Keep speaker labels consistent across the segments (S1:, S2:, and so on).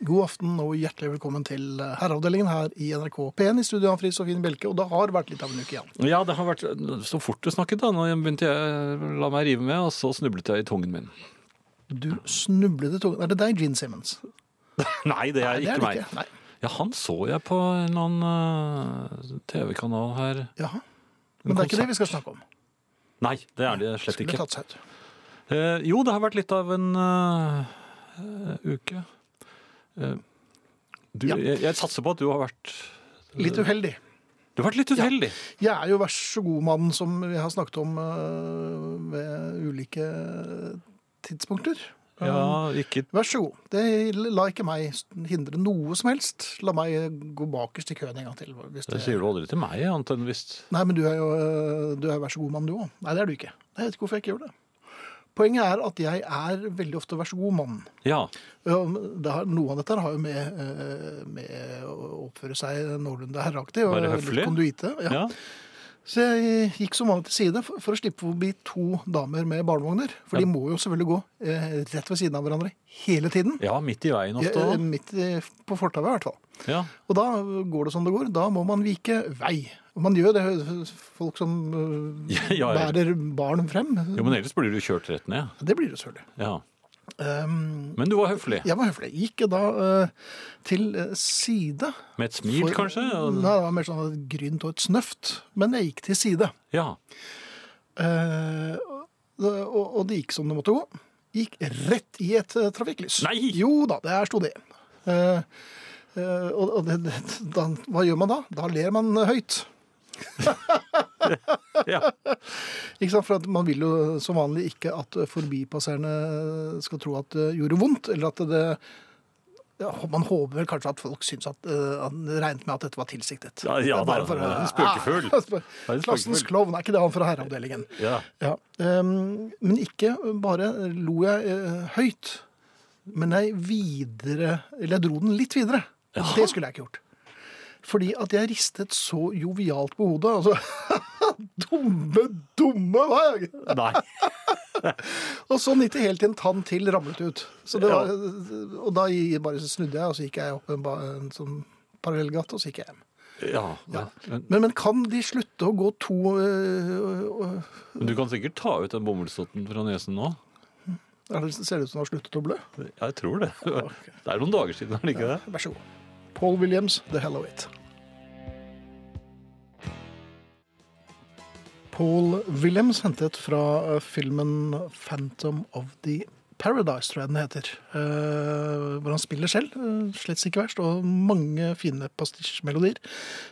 S1: God aften og hjertelig velkommen til eh, Herreavdelingen her i NRK P1 i studio av Fri Sofien Bjelke. Og det har vært litt av en uke igjen.
S2: Ja, det har vært så fort du snakket, da. Nå begynte jeg la meg rive med, og så snublet jeg i tungen min.
S1: Du snublet i tungen. Er det deg, Gene Simmons?
S2: Nei, det er
S1: Nei, det er
S2: ikke
S1: det
S2: meg.
S1: ikke. Nei.
S2: Ja, han så jeg på en eller annen eh, TV-kanal her.
S1: Jaha. Men det er ikke det vi skal snakke om.
S2: Nei, det er det slett
S1: Skulle
S2: ikke.
S1: tatt seg ut.
S2: Eh, jo, det har vært litt av en eh, uke. Eh, du,
S1: Ja.
S2: jeg, jeg satser på at du har vært
S1: Litt uheldig.
S2: Du har vært litt uheldig.
S1: Jeg er jo vær så god-mannen som vi har snakket om øh, ved ulike tidspunkter.
S2: Ja, ikke
S1: Vær så god. Det la ikke meg hindre noe som helst. La meg gå bakerst i køen en gang til. Hvis
S2: Det
S1: det...
S2: sier du aldri til meg, annet enn hvis
S1: Nei, men du er jo øh, du er vær så god-mann, du òg. Nei, det er du ikke. Jeg vet ikke hvorfor jeg ikke gjør det. Poenget er at jeg er veldig ofte vær så god-mannen.
S2: Ja.
S1: Um, det har- Noe av dette har jo med, øh, med å oppføre seg noenlunde herreaktig. og
S2: Være
S1: litt
S2: høflig.
S1: Konduite. Ja.
S2: ja.
S1: Så jeg gikk som vanlig til side for, for å slippe forbi to damer med barnevogner. For
S2: Ja.
S1: de må jo selvfølgelig gå eh, rett ved siden av hverandre hele tiden.
S2: Ja, midt i veien ofte.
S1: Ja, eh,
S2: også.
S1: midt i- på fortauet, i hvert fall.
S2: Ja.
S1: Og da går det som det går. Da må man vike vei. Og Man gjør det, folk som eh,
S2: Ja, ja.
S1: bærer barn frem.
S2: Jo, men ellers blir du kjørt rett ned.
S1: Det blir det selvfølgelig.
S2: Ja.
S1: Um,
S2: Men du var høflig.
S1: jeg var høflig. Gikk da eh, til eh, side.
S2: Med et smil,
S1: For-
S2: kanskje?
S1: Nei, det var mer sånn et grynt og et snøft. Men jeg gikk til side.
S2: Ja.
S1: Eh, det- og, og det gikk som det måtte gå. Gikk rett i et eh, trafikklys.
S2: Nei!
S1: Jo da, der sto det. Eh, eh, og og det, det, da, hva gjør man da? Da ler man eh, høyt.
S2: ja.
S1: Ikke sant? For at man vil jo som vanlig ikke at forbipasserende skal tro at det gjorde vondt, eller at det ja, Man håper vel kanskje at folk syns at, eh, at regnet med at dette var tilsiktet.
S2: Ja,
S1: Det
S2: ja
S1: er bare
S2: da,
S1: for å-
S2: det er en spøkefugl.
S1: Ah, spø-
S2: er en spøkefugl.
S1: Klassens klovn, er ikke det han fra herreavdelingen?
S2: ja.
S1: Ja, ehm, men ikke bare lo jeg eh, høyt, men jeg videre, eller jeg dro den litt videre.
S2: Jaha.
S1: Det skulle jeg ikke gjort. Fordi at jeg ristet så jovialt på hodet, altså, dumme, dumme, hva er jeg?
S2: Nei.
S1: Og sånn gikk det helt til en tann til ramlet ut. Så det
S2: Ja.
S1: var, Og da gi- bare snudde jeg, og så gikk jeg opp en, ba- en sånn parallellgate, og så gikk jeg hjem.
S2: Ja. Men,
S1: Men, men kan de slutte å gå to øh, øh,
S2: men du kan sikkert ta ut den bomullsdotten fra nesen nå.
S1: er det- Ser det ut som de har sluttet å blø?
S2: Jeg tror det. Det er noen dager siden, er det ikke det?
S1: Vær så god. Paul Williams, The Hello It. Paul Williams hentet fra eh, filmen Phantom of the Paradise, tror jeg den heter. eh, hvor han spiller selv. eh, slett ikke verst. Og mange fine pastisjmelodier.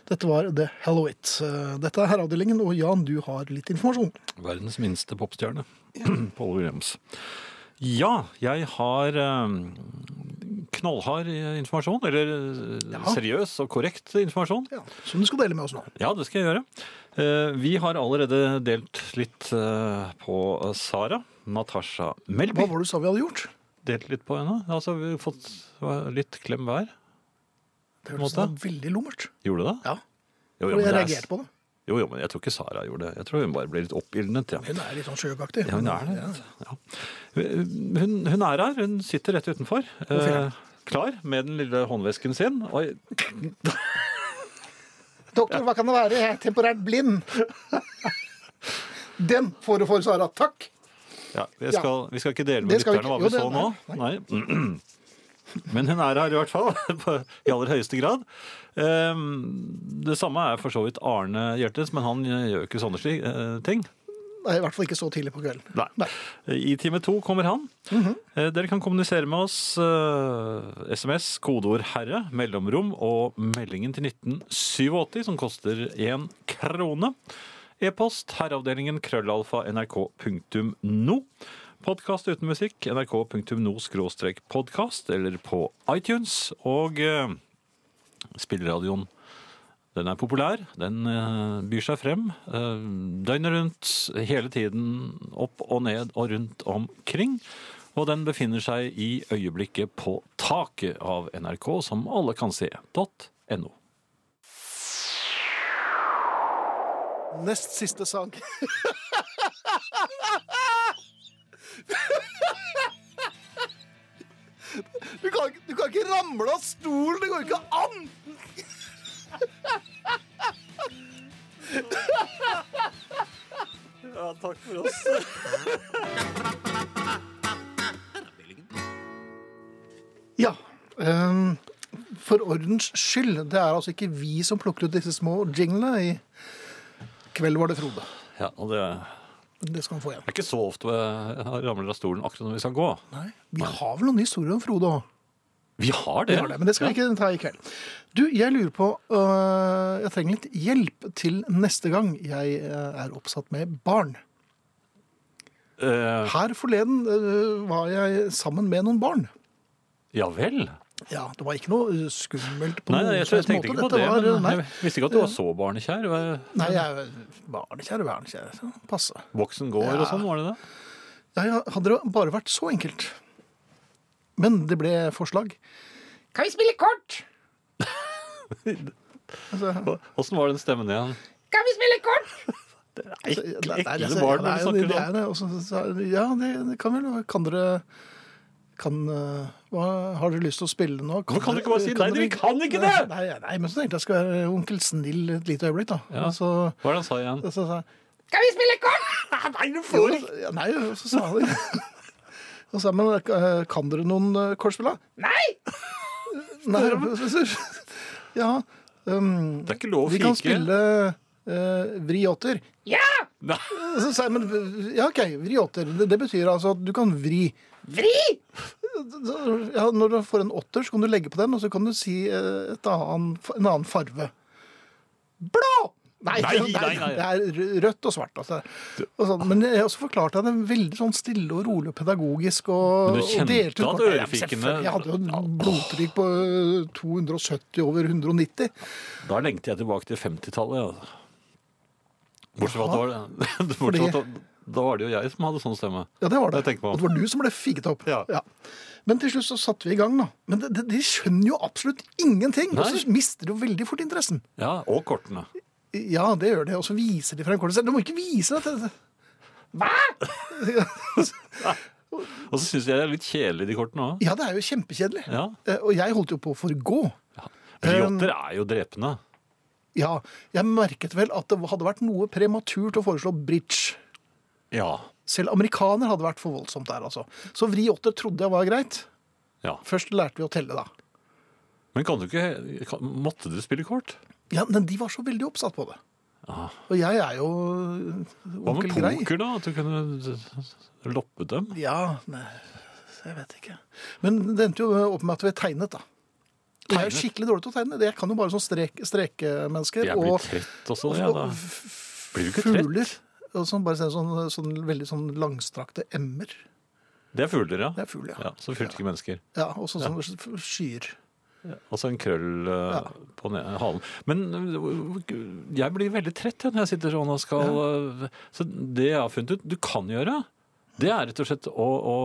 S1: Dette var The Hello It. Eh, dette er Herreavdelingen, og Jan, du har litt informasjon.
S2: Verdens minste popstjerne. Paul Williams. Ja, jeg har eh, knallhard informasjon. Eller eh,
S1: Ja.
S2: seriøs og korrekt informasjon.
S1: Ja, som du skal dele med oss nå.
S2: Ja, det skal jeg gjøre. Eh, Vi har allerede delt litt eh, på Sara. Natasha Melby.
S1: Hva var det du sa vi hadde gjort?
S2: Delt litt på henne. Altså, vi har fått litt klem hver.
S1: Det hørtes
S2: Måte.
S1: da veldig lummert.
S2: Gjorde du det?
S1: Ja,
S2: Jo,
S1: og jeg
S2: det er-
S1: reagerte på det.
S2: Jo, jo, men jeg tror ikke Sara gjorde det. Jeg tror hun bare ble litt oppildnet. Ja.
S1: Hun er litt sånn sjøgaktig.
S2: Ja, hun er det. vet du. Ja. Hun, hun er her. Hun sitter rett utenfor.
S1: fint.
S2: Eh, klar med den lille håndvesken sin. Oi,
S1: Doktor, hva kan det være? Jeg er temporært blind. Den får du for, Sara. Takk.
S2: ja, jeg skal, vi skal ikke dele med
S1: Det skal vi
S2: lytterne hva
S1: ikke.
S2: vi
S1: Jo, det-
S2: så nå. Nei. Men hun er her i hvert fall. på- I aller høyeste grad. Eh, det samme er for så vidt Arne Hjertnes, men han gjør jo ikke sånne sli- eh, ting.
S1: Nei, I hvert fall ikke så tidlig på kvelden.
S2: Nei.
S1: Nei.
S2: I time to kommer han. Eh, Dere kan kommunisere med oss. eh, SMS, kodeord 'herre', mellomrom og meldingen til 1987, som koster én krone. E-post herreavdelingen krøllalfa nrk.no. Podkast uten musikk nrk.no skråstrek podkast eller på iTunes. Og eh, spilleradioen den er populær, den eh, byr seg frem eh, døgnet rundt, hele tiden, opp og ned og rundt omkring. Og den befinner seg i øyeblikket på taket av NRK, som alle kan se. .no.
S1: Nest siste sang. Du kan, ikke- du kan ikke ramle av stolen! Det går ikke an!
S3: Ja, takk for oss.
S1: Ja. ehm, for ordens skyld. Det er altså ikke vi som plukker ut disse små jinglene. I kveld var det Frode.
S2: Ja, og det er
S1: Det skal han få igjen.
S2: ikke så ofte jeg ramler av stolen akkurat når vi skal gå.
S1: Nei, Vi har vel noen historier om Frode òg.
S2: Vi har
S1: Vi
S2: det.
S1: har det, men det skal vi ikke ta i kveld. Du, jeg lurer på øh, Jeg trenger litt hjelp til neste gang jeg øh, er oppsatt med barn.
S2: Eh,
S1: Her forleden øh, var jeg sammen med noen barn.
S2: ja vel.
S1: Ja, det var ikke noe øh, skummelt på
S2: Nei,
S1: noen
S2: jeg,
S1: slags måte.
S2: tenkte ikke på
S1: Dette
S2: det.
S1: var, øh,
S2: men jeg visste ikke at du var så barnekjær. og
S1: Nei, nei jeg, barnekjære, barnekjære. så Passe.
S2: Voksen går og sånn, var det det?
S1: Ja, ja, hadde det bare vært så enkelt. Men det ble forslag. Kan vi spille kort? altså,
S2: Åssen var den stemmen igjen?
S4: Kan vi spille kort?
S1: Altså,
S2: Ekle,
S1: det- det er-
S2: ekle
S1: altså, ja,
S2: barn
S1: det er
S2: når du
S1: jo-
S2: snakker
S1: det
S2: sånn.
S1: er det. Og så- så- så- Ja, det det kan vel Kan dere kan, eh, hva, Har dere lyst til å spille nå?
S2: Hvorfor kan du ikke bare si, "Nei,
S1: dere-
S2: vi kan ikke det!"
S1: Nei, nei, nei, men så tenkte jeg skal være eh, onkel snill et lite øyeblikk, da.
S2: Ja.
S1: Og Så,
S2: Hva er det han sa igjen?
S1: så, så, så,
S4: Kan vi spille kort?
S2: Nei, du
S1: jo, altså, ja, nei, og så sa de Og så sa man, eh, kan dere noen eh, kortspill, da?
S4: Nei!
S1: Nei, så- så- ja um,
S2: Det er ikke lov å
S1: Vi kan
S2: fike.
S1: spille eh, vriåter.
S4: Ja!
S2: Nei,
S1: Så sa jeg, men ja, ok, vriåter. Det, det betyr altså at du kan vri.
S4: Vri!
S1: Ja, når du får en åtter, så kan du legge på den, og så kan du si eh, et annen, en annen farve. Blå! Nei,
S2: Nei,
S1: det er-
S2: nei, nei.
S1: det er rø- rødt og svart. Altså. Og sånn. Men jeg også forklarte jeg det veldig sånn stille og rolig og pedagogisk. Og,
S2: Men du kjente
S1: og delte ut
S2: at
S1: kort. Ja, men
S2: ørefikene-
S1: selvfølgelig. Jeg hadde jo en blodtrykk på eh, 270 over 190.
S2: da lengter jeg tilbake til 50-tallet. Altså. Bortsett fra at det var det. Bortsett
S1: Fordi-
S2: fra at da- da var det jo jeg som hadde sånn stemme.
S1: Ja, det var det.
S2: Det tenker man.
S1: Og det var du som ble figet opp.
S2: Ja.
S1: Men til slutt så satte vi i gang, da. Men de, de skjønner jo absolutt ingenting, og
S2: Nei.
S1: så mister de jo veldig fort interessen.
S2: Ja, Og kortene.
S1: Ja, det gjør det, og så viser de fra en kort Du må ikke vise dette!
S4: Hva?
S2: Og så syns jeg det er litt kjedelig, de kortene òg.
S1: Ja, det er jo kjempekjedelig.
S2: Ja.
S1: Eh, Og jeg holdt jo på å forgå. Um,
S2: Briotter er jo drepende.
S1: Ja, jeg merket vel at det hadde vært noe prematurt å foreslå bridge.
S2: Ja.
S1: Selv amerikaner hadde vært for voldsomt der, altså. Så vri åtter trodde jeg var greit.
S2: ja.
S1: Først lærte vi å telle, da.
S2: Men kan du ikke kan, Måtte du spille kort?
S1: Ja, Men de var så veldig oppsatt på det.
S2: Ah.
S1: Og jeg er jo
S2: Hva med
S1: onkel Grei.
S2: poker, da? At du kunne loppe dem?
S1: Ja, nei, jeg vet ikke. Men det endte jo opp med at vi tegnet, da. Og Jeg er
S2: Tegnet?
S1: skikkelig dårlig til å tegne. Jeg kan jo bare sånn strek, strekemennesker
S2: Jeg blir
S1: og,
S2: trett
S1: og,
S2: også, jeg. da.
S1: og
S2: Blir du ikke trett?
S1: fugler. Og sånn, bare sånn, sånn, sånn veldig sånn langstrakte emmer.
S2: Det er fugler, ja.
S1: Det er fugl, ja.
S2: ja så fugler ikke mennesker.
S1: ja. Og sånn sånn skyer.
S2: Altså en krøll eh, på ne- halen. Men eh, jeg blir veldig trett jeg, når jeg sitter sånn og skal eh, Så det jeg har funnet ut du kan gjøre, det er rett og slett å, å,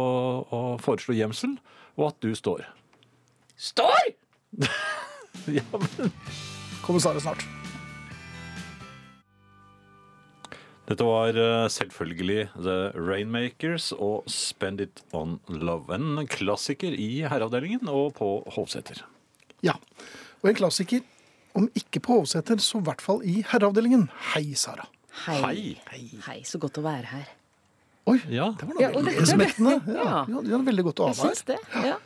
S2: å foreslå gjemsel, og at du står.
S4: Står!
S2: Ja, men...
S1: Kommer Sara snart.
S2: Dette var eh, selvfølgelig The Rainmakers og Spend It On Love. En klassiker i herreavdelingen og på Hovseter.
S1: Ja. Og en klassiker, om ikke på Hovseter, så i hvert fall i herreavdelingen. Hei, Sara.
S2: Hei.
S4: Hei, så godt å være her.
S1: Oi,
S2: Ja.
S1: det var noe
S4: Ja, og
S1: veldig
S4: det-
S1: smettende. Ja,
S4: Ja.
S1: ja. det var veldig godt å
S4: Jeg
S1: ha deg
S4: syns det. Ja.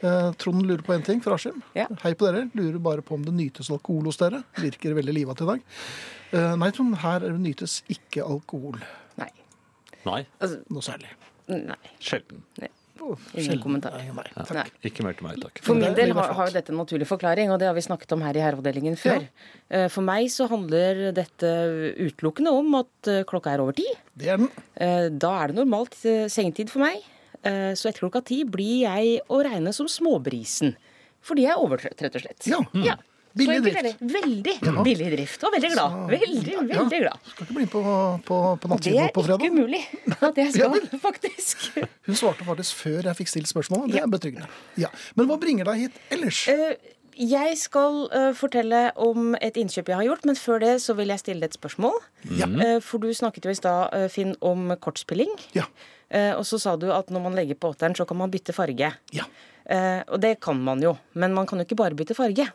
S1: Eh, Trond lurer på en ting fra Askim.
S4: Ja.
S1: Hei på dere. Lurer bare på om det nytes alkohol hos dere. Virker veldig livat i dag. Eh, nei, Trond, her nytes ikke alkohol
S4: Nei.
S2: Nei,
S4: Altså,
S1: noe særlig.
S4: nei.
S2: sjelden.
S4: nei.
S1: Å,
S4: Ingen
S1: sjelden.
S4: kommentar.
S1: Nei, nei, takk.
S4: nei.
S2: Ikke mer til meg, takk.
S4: For
S1: Men
S4: min
S1: det
S4: del
S1: blir
S4: har,
S1: flaut.
S4: har jo dette en naturlig forklaring, og det har vi snakket om her i herreavdelingen før. Eh, For meg så handler dette utelukkende om at eh, klokka er over ti.
S1: Det er den.
S4: Eh, Da er det normalt eh, sengetid for meg. Eh, Så etter klokka ti blir jeg å regne som småbrisen. Fordi jeg er overtrøtt, rett og slett.
S1: Ja. mm.
S4: Så
S1: Billig
S4: enkelt er det.
S1: drift.
S4: Veldig billig drift. Og veldig glad. Veldig,
S1: Ja.
S4: veldig glad.
S1: Skal ikke bli med på, på, på
S4: Det
S1: nattiden
S4: er
S1: på
S4: ikke
S1: fredag.
S4: umulig at jeg
S1: Ja,
S4: skal, faktisk.
S1: Hun svarte faktisk før jeg fikk stilt spørsmålet. Det
S4: Ja.
S1: er betryggende. Ja. Men hva bringer deg hit ellers?
S4: Eh, Jeg skal eh, fortelle om et innkjøp jeg har gjort, men før det så vil jeg stille deg et spørsmål. Eh, for du snakket jo i stad, eh, Finn, om kortspilling.
S1: Ja.
S4: Eh, og så sa du at når man legger på åtteren, så kan man bytte farge.
S1: Ja.
S4: Eh, og det kan man jo, men man kan jo ikke bare bytte farge.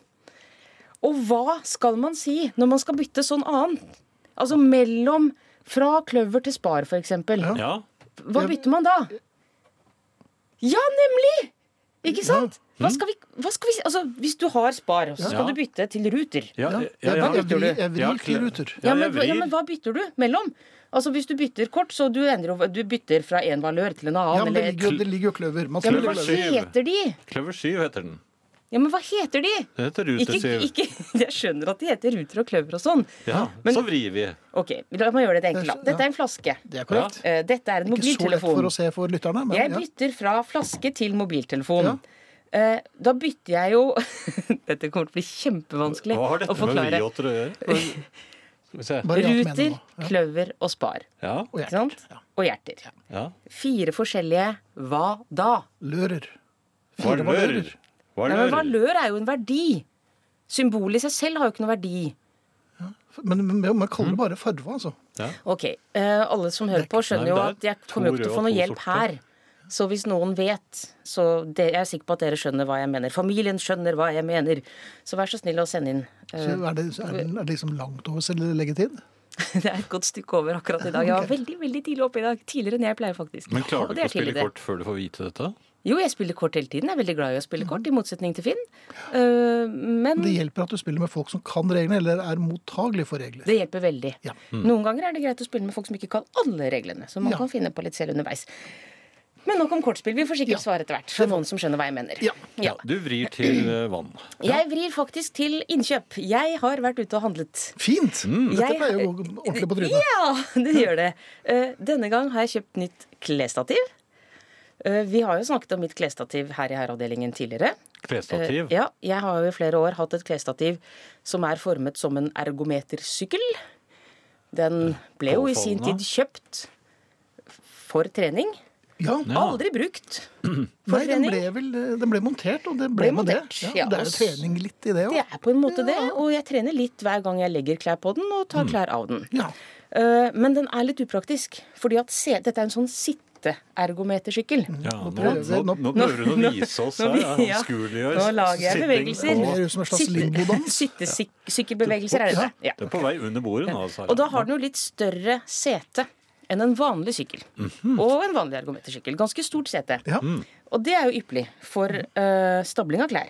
S4: Og hva skal man si når man skal bytte sånn annen? Altså mellom fra kløver til spar, f.eks.
S1: Ja.
S2: Ja.
S4: Hva bytter man da? Ja, nemlig! Ikke sant? Hva
S1: Mm.
S4: skal vi, hva skal vi si? Altså, hvis du har spar, så skal
S2: Ja.
S4: du bytte til ruter.
S1: Ja.
S2: Ja, ja, ja,
S1: Jeg,
S2: ja.
S1: jeg, vrir- jeg
S2: Ja,
S1: vrir til ruter.
S2: Ja,
S4: Ja,
S2: jeg
S4: men, ja,
S2: vrir.
S4: men hva bytter du mellom? Altså, Hvis du bytter kort, så du, endrer, over- du bytter fra en valør til en annen.
S1: Ja, men det
S4: eller-
S1: ligger, jo- det ligger jo kløver. Man
S4: ja, men
S1: spiller
S4: hva
S2: Kløver
S1: kløver.
S2: syv.
S4: heter de?
S2: Kløver 7 heter den.
S4: Ja, men hva heter de?
S2: Det heter
S4: Ikke,
S2: Rute 7.
S4: ikke, jeg skjønner at de heter ruter og kløver og sånn.
S2: Ja,
S4: Men-
S2: så vrir vi.
S4: Ok, La meg gjøre det enkelt. da.
S1: Ja.
S4: Dette er en flaske.
S1: Det er korrekt.
S4: Eh, Dette er en
S1: Ikke så lett for
S4: mobiltelefon.
S1: å se for lytterne, men
S4: Jeg
S1: ja.
S4: bytter fra flaske til mobiltelefon. Eh, Da bytter jeg jo Dette kommer til å bli kjempevanskelig
S2: Hva har
S4: å
S2: dette med
S4: forklare.
S2: vriåter å gjøre? Skal vi se.
S1: Bare ja til meningen
S4: Ruter,
S1: nå. Ja.
S4: kløver og spar.
S2: Ja,
S1: Og
S4: Ikke
S1: hjerter.
S4: sant? Og hjerter.
S2: ja.
S4: Fire forskjellige hva da?
S1: Lører.
S2: Valør.
S4: Ja, men
S2: Valør.
S4: valør er jo en verdi. Symbolet i seg selv har jo ikke noe verdi.
S1: Men men- men man
S4: Mm.
S1: kaller det bare farve, altså.
S4: Ok, eh, Alle som hører på, skjønner jo
S2: Nei,
S4: at
S2: det er
S4: jeg kommer jo ikke
S2: to
S4: til å
S2: røde
S4: få
S2: og
S4: noe
S2: to
S4: hjelp her.
S2: sorte.
S4: Så hvis noen vet, så det, jeg er sikker på at dere skjønner hva jeg mener. Familien skjønner hva jeg mener. Så vær så snill å sende inn.
S1: Så
S4: eh,
S1: er det, er det, er det liksom langt over selvleggetid?
S4: Det er et godt stykke over akkurat i dag. Jeg var veldig veldig tidlig oppe i dag. Tidligere enn jeg pleier, faktisk.
S2: Men
S4: Og
S2: klarer du
S4: det er
S2: ikke å spille
S4: tidlig, det.
S2: kort før du får vite dette?
S4: Jo, jeg spiller kort hele tiden. Jeg er veldig glad i å spille kort, i motsetning til Finn. Eh, Men
S1: Det hjelper at du spiller med folk som kan reglene, eller er mottagelige for regler.
S4: Det hjelper veldig.
S1: Ja.
S4: Noen ganger er det greit å spille med folk som ikke kan alle reglene. Så man
S1: Ja.
S4: kan finne på litt selv underveis. Men nok om kortspill. Vi får sikkert svare etter hvert. Det er noen som skjønner hva jeg mener.
S1: Ja.
S4: Ja.
S2: Du vrir til eh, vann.
S4: Jeg vrir faktisk til innkjøp. Jeg har vært ute og handlet.
S1: Fint!
S2: Mm.
S1: Dette
S4: Jeg-
S1: pleier å gå ordentlig på trynet.
S4: Ja, det gjør det. Eh, Denne gang har jeg kjøpt nytt klesstativ. Eh, Vi har jo snakket om mitt klesstativ her i herreavdelingen tidligere.
S2: Klesstativ.
S4: Eh, Ja, jeg har jo i flere år hatt et klesstativ som er formet som en ergometersykkel. Den ble jo i sin
S2: Påfallende.
S4: tid kjøpt for trening.
S1: Ja.
S2: Ja.
S4: Aldri brukt. For
S1: Nei, den
S4: trening.
S1: ble, vel, den ble montert, og det ble,
S4: Ble
S1: med det.
S4: montert,
S1: Ja,
S4: ja,
S1: det
S4: og
S1: er jo
S4: s-
S1: trening litt i det
S4: Det
S1: òg.
S4: er på en måte det, og jeg trener litt hver gang jeg legger klær på den og
S2: Mm.
S4: tar klær av den.
S1: Ja.
S4: Eh, Men den er litt upraktisk, fordi at se, dette er en sånn sitteergometersykkel.
S2: Ja, nå,
S1: prøver-
S2: nå,
S1: nå-
S2: nå prøver hun å vise oss her. Ja,
S4: Ja.
S2: Anskueliggjør
S4: Nå lager jeg
S2: sitting
S4: bevegelser.
S1: Det
S2: og-
S1: Mer ut som en slags limbodans.
S4: Sittesykkelbevegelser er dette. Ja.
S2: Det er på vei under bordet nå, altså.
S4: Og da har den jo litt større sete enn en vanlig sykkel.
S1: Mhm.
S4: Og en vanlig ergometersykkel. Ganske stort sete.
S1: Ja,
S2: Mm.
S4: Og det er jo ypperlig for eh, stabling av klær.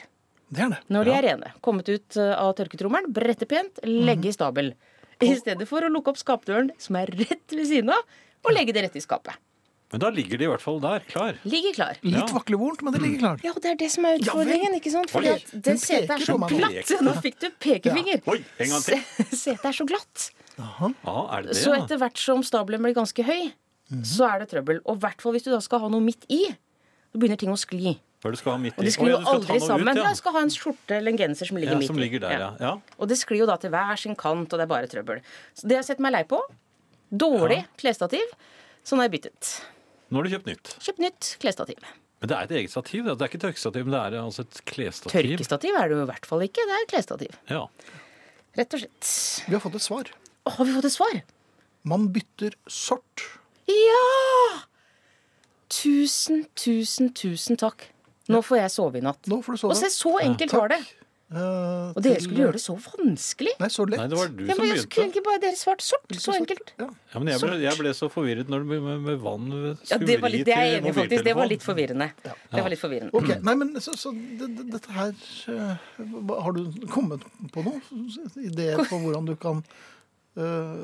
S1: det er det.
S4: Når de er rene. Kommet ut eh, av tørketrommelen, brette pent, legge
S1: Mhm.
S4: i stabel. I stedet for å lukke opp skapdøren, som er rett ved siden av, og legge det rett i skapet.
S2: Men da ligger de i hvert fall der, klar.
S4: Ligger klar.
S1: Litt
S2: Ja. Mm.
S1: vaklevorent, men det ligger klart.
S4: Ja, og det er det som er utfordringen, ikke sant? Fordi at det
S1: Hun
S4: setet er
S1: peker
S4: så
S1: på meg nå.
S4: glatt. Nå fikk du pekefinger.
S2: Ja. Oi, en gang til.
S4: Se- Setet er så glatt.
S2: Ja, er det det?
S4: Så
S2: ja?
S4: etter hvert som stabelen blir ganske høy, så er det trøbbel. Og i hvert fall hvis du da skal ha noe midt i. Så begynner ting å skli.
S2: Hva er det du skal ha midt i?
S4: Og de
S2: Å,
S4: sklir
S2: ja,
S4: jo
S2: du skal ta
S4: aldri
S2: noe ut,
S4: sammen.
S2: ja.
S4: Ja, jeg skal ha en skjorte eller en genser som ligger
S2: Ja,
S4: midt i.
S2: som ligger der, ja. ja.
S4: Og det sklir jo da til hver sin kant, og det er bare trøbbel. Så det har jeg sett meg lei på. Dårlig klesstativ. Så nå har jeg byttet.
S2: Nå har du kjøpt nytt.
S4: Kjøpt nytt klesstativ.
S2: Men det er et eget stativ. Det er ikke tørkestativ, men det er altså et klesstativ.
S4: Tørkestativ er det jo i hvert fall ikke. Det er klesstativ.
S2: Ja.
S4: Rett og slett.
S1: Vi har fått et svar.
S4: Å, har vi fått et svar?
S1: Man bytter sort.
S4: Ja! Tusen, tusen, tusen takk. Nå får jeg sove i natt.
S1: Nå får du
S4: Og
S1: sove.
S4: se, så enkelt var det. Og dere skulle gjøre det så vanskelig.
S1: Nei, så lett.
S2: Nei, det var du
S4: Ja,
S2: som
S4: men jeg skulle
S2: begynte.
S4: egentlig bare dere svarte sort. Så enkelt.
S1: Ja.
S2: Ja, men jeg ble, jeg ble så forvirret når det ble med, med vann ved
S4: Ja, det var litt, det er jeg enig i, faktisk. Det var litt
S2: for...
S4: forvirrende. Det var litt forvirrende.
S1: Ok, nei, men så, så det, det, dette her eh, hva- Har du kommet på noe? Ideer på hvordan du kan eh,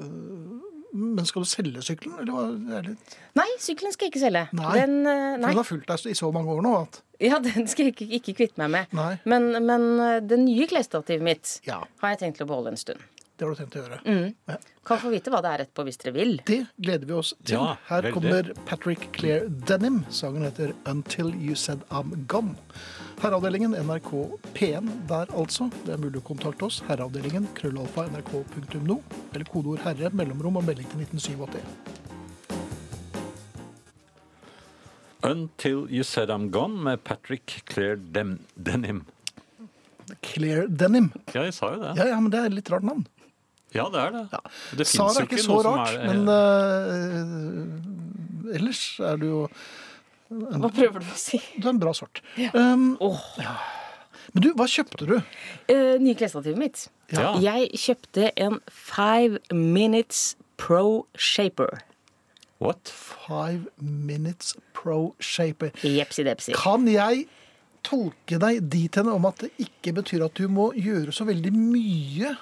S1: Men skal du selge sykkelen, eller hva? Det er litt,
S4: Nei, sykkelen skal jeg ikke selge.
S1: Nei.
S4: Den, eh,
S1: for
S4: nei.
S1: den har fulgt deg i så mange år nå at
S4: Ja, den skal jeg ikke, ikke kvitte meg med.
S1: Nei.
S4: Men, men eh, det nye klesstativet mitt
S1: Ja.
S4: har jeg tenkt til å beholde en stund.
S1: det har du tenkt å gjøre.
S4: Kan få vite hva det er rett på hvis dere vil.
S1: Det gleder vi oss til.
S2: Ja,
S1: Her
S2: veldig.
S1: kommer Patrick Clair Denim. Sangen heter 'Until You Said I'm Gone'. Herreavdelingen NRK P1 der, altså. Det er mulig å kontakte oss. Herreavdelingen krøllalfa nrk.no. Eller kodeord 'herre', mellomrom og melding til 1987.
S2: Until You Said I'm Gone med Patrick Claire Dem Denim.
S1: Clear Denim.
S2: Ja, jeg sa jo det.
S1: Ja, ja, men det er et litt rart navn.
S2: Ja, det er det. Det finnes
S1: Sara
S2: jo
S1: er ikke så
S2: noe som
S1: rart,
S2: er- eh,
S1: men eh, ellers er du jo
S4: Hva prøver du å si?
S1: Du er en bra sort. Um,
S4: Åh,
S1: men du, hva kjøpte du?
S4: eh, nye klesstativet mitt.
S2: ja.
S4: Jeg kjøpte en Five Minutes Pro Shaper.
S2: What?
S1: Five Minutes Pro Shaper.
S4: Jepsi-depsi.
S1: Kan jeg tolke deg dit hen om at det ikke betyr at du må gjøre så veldig mye?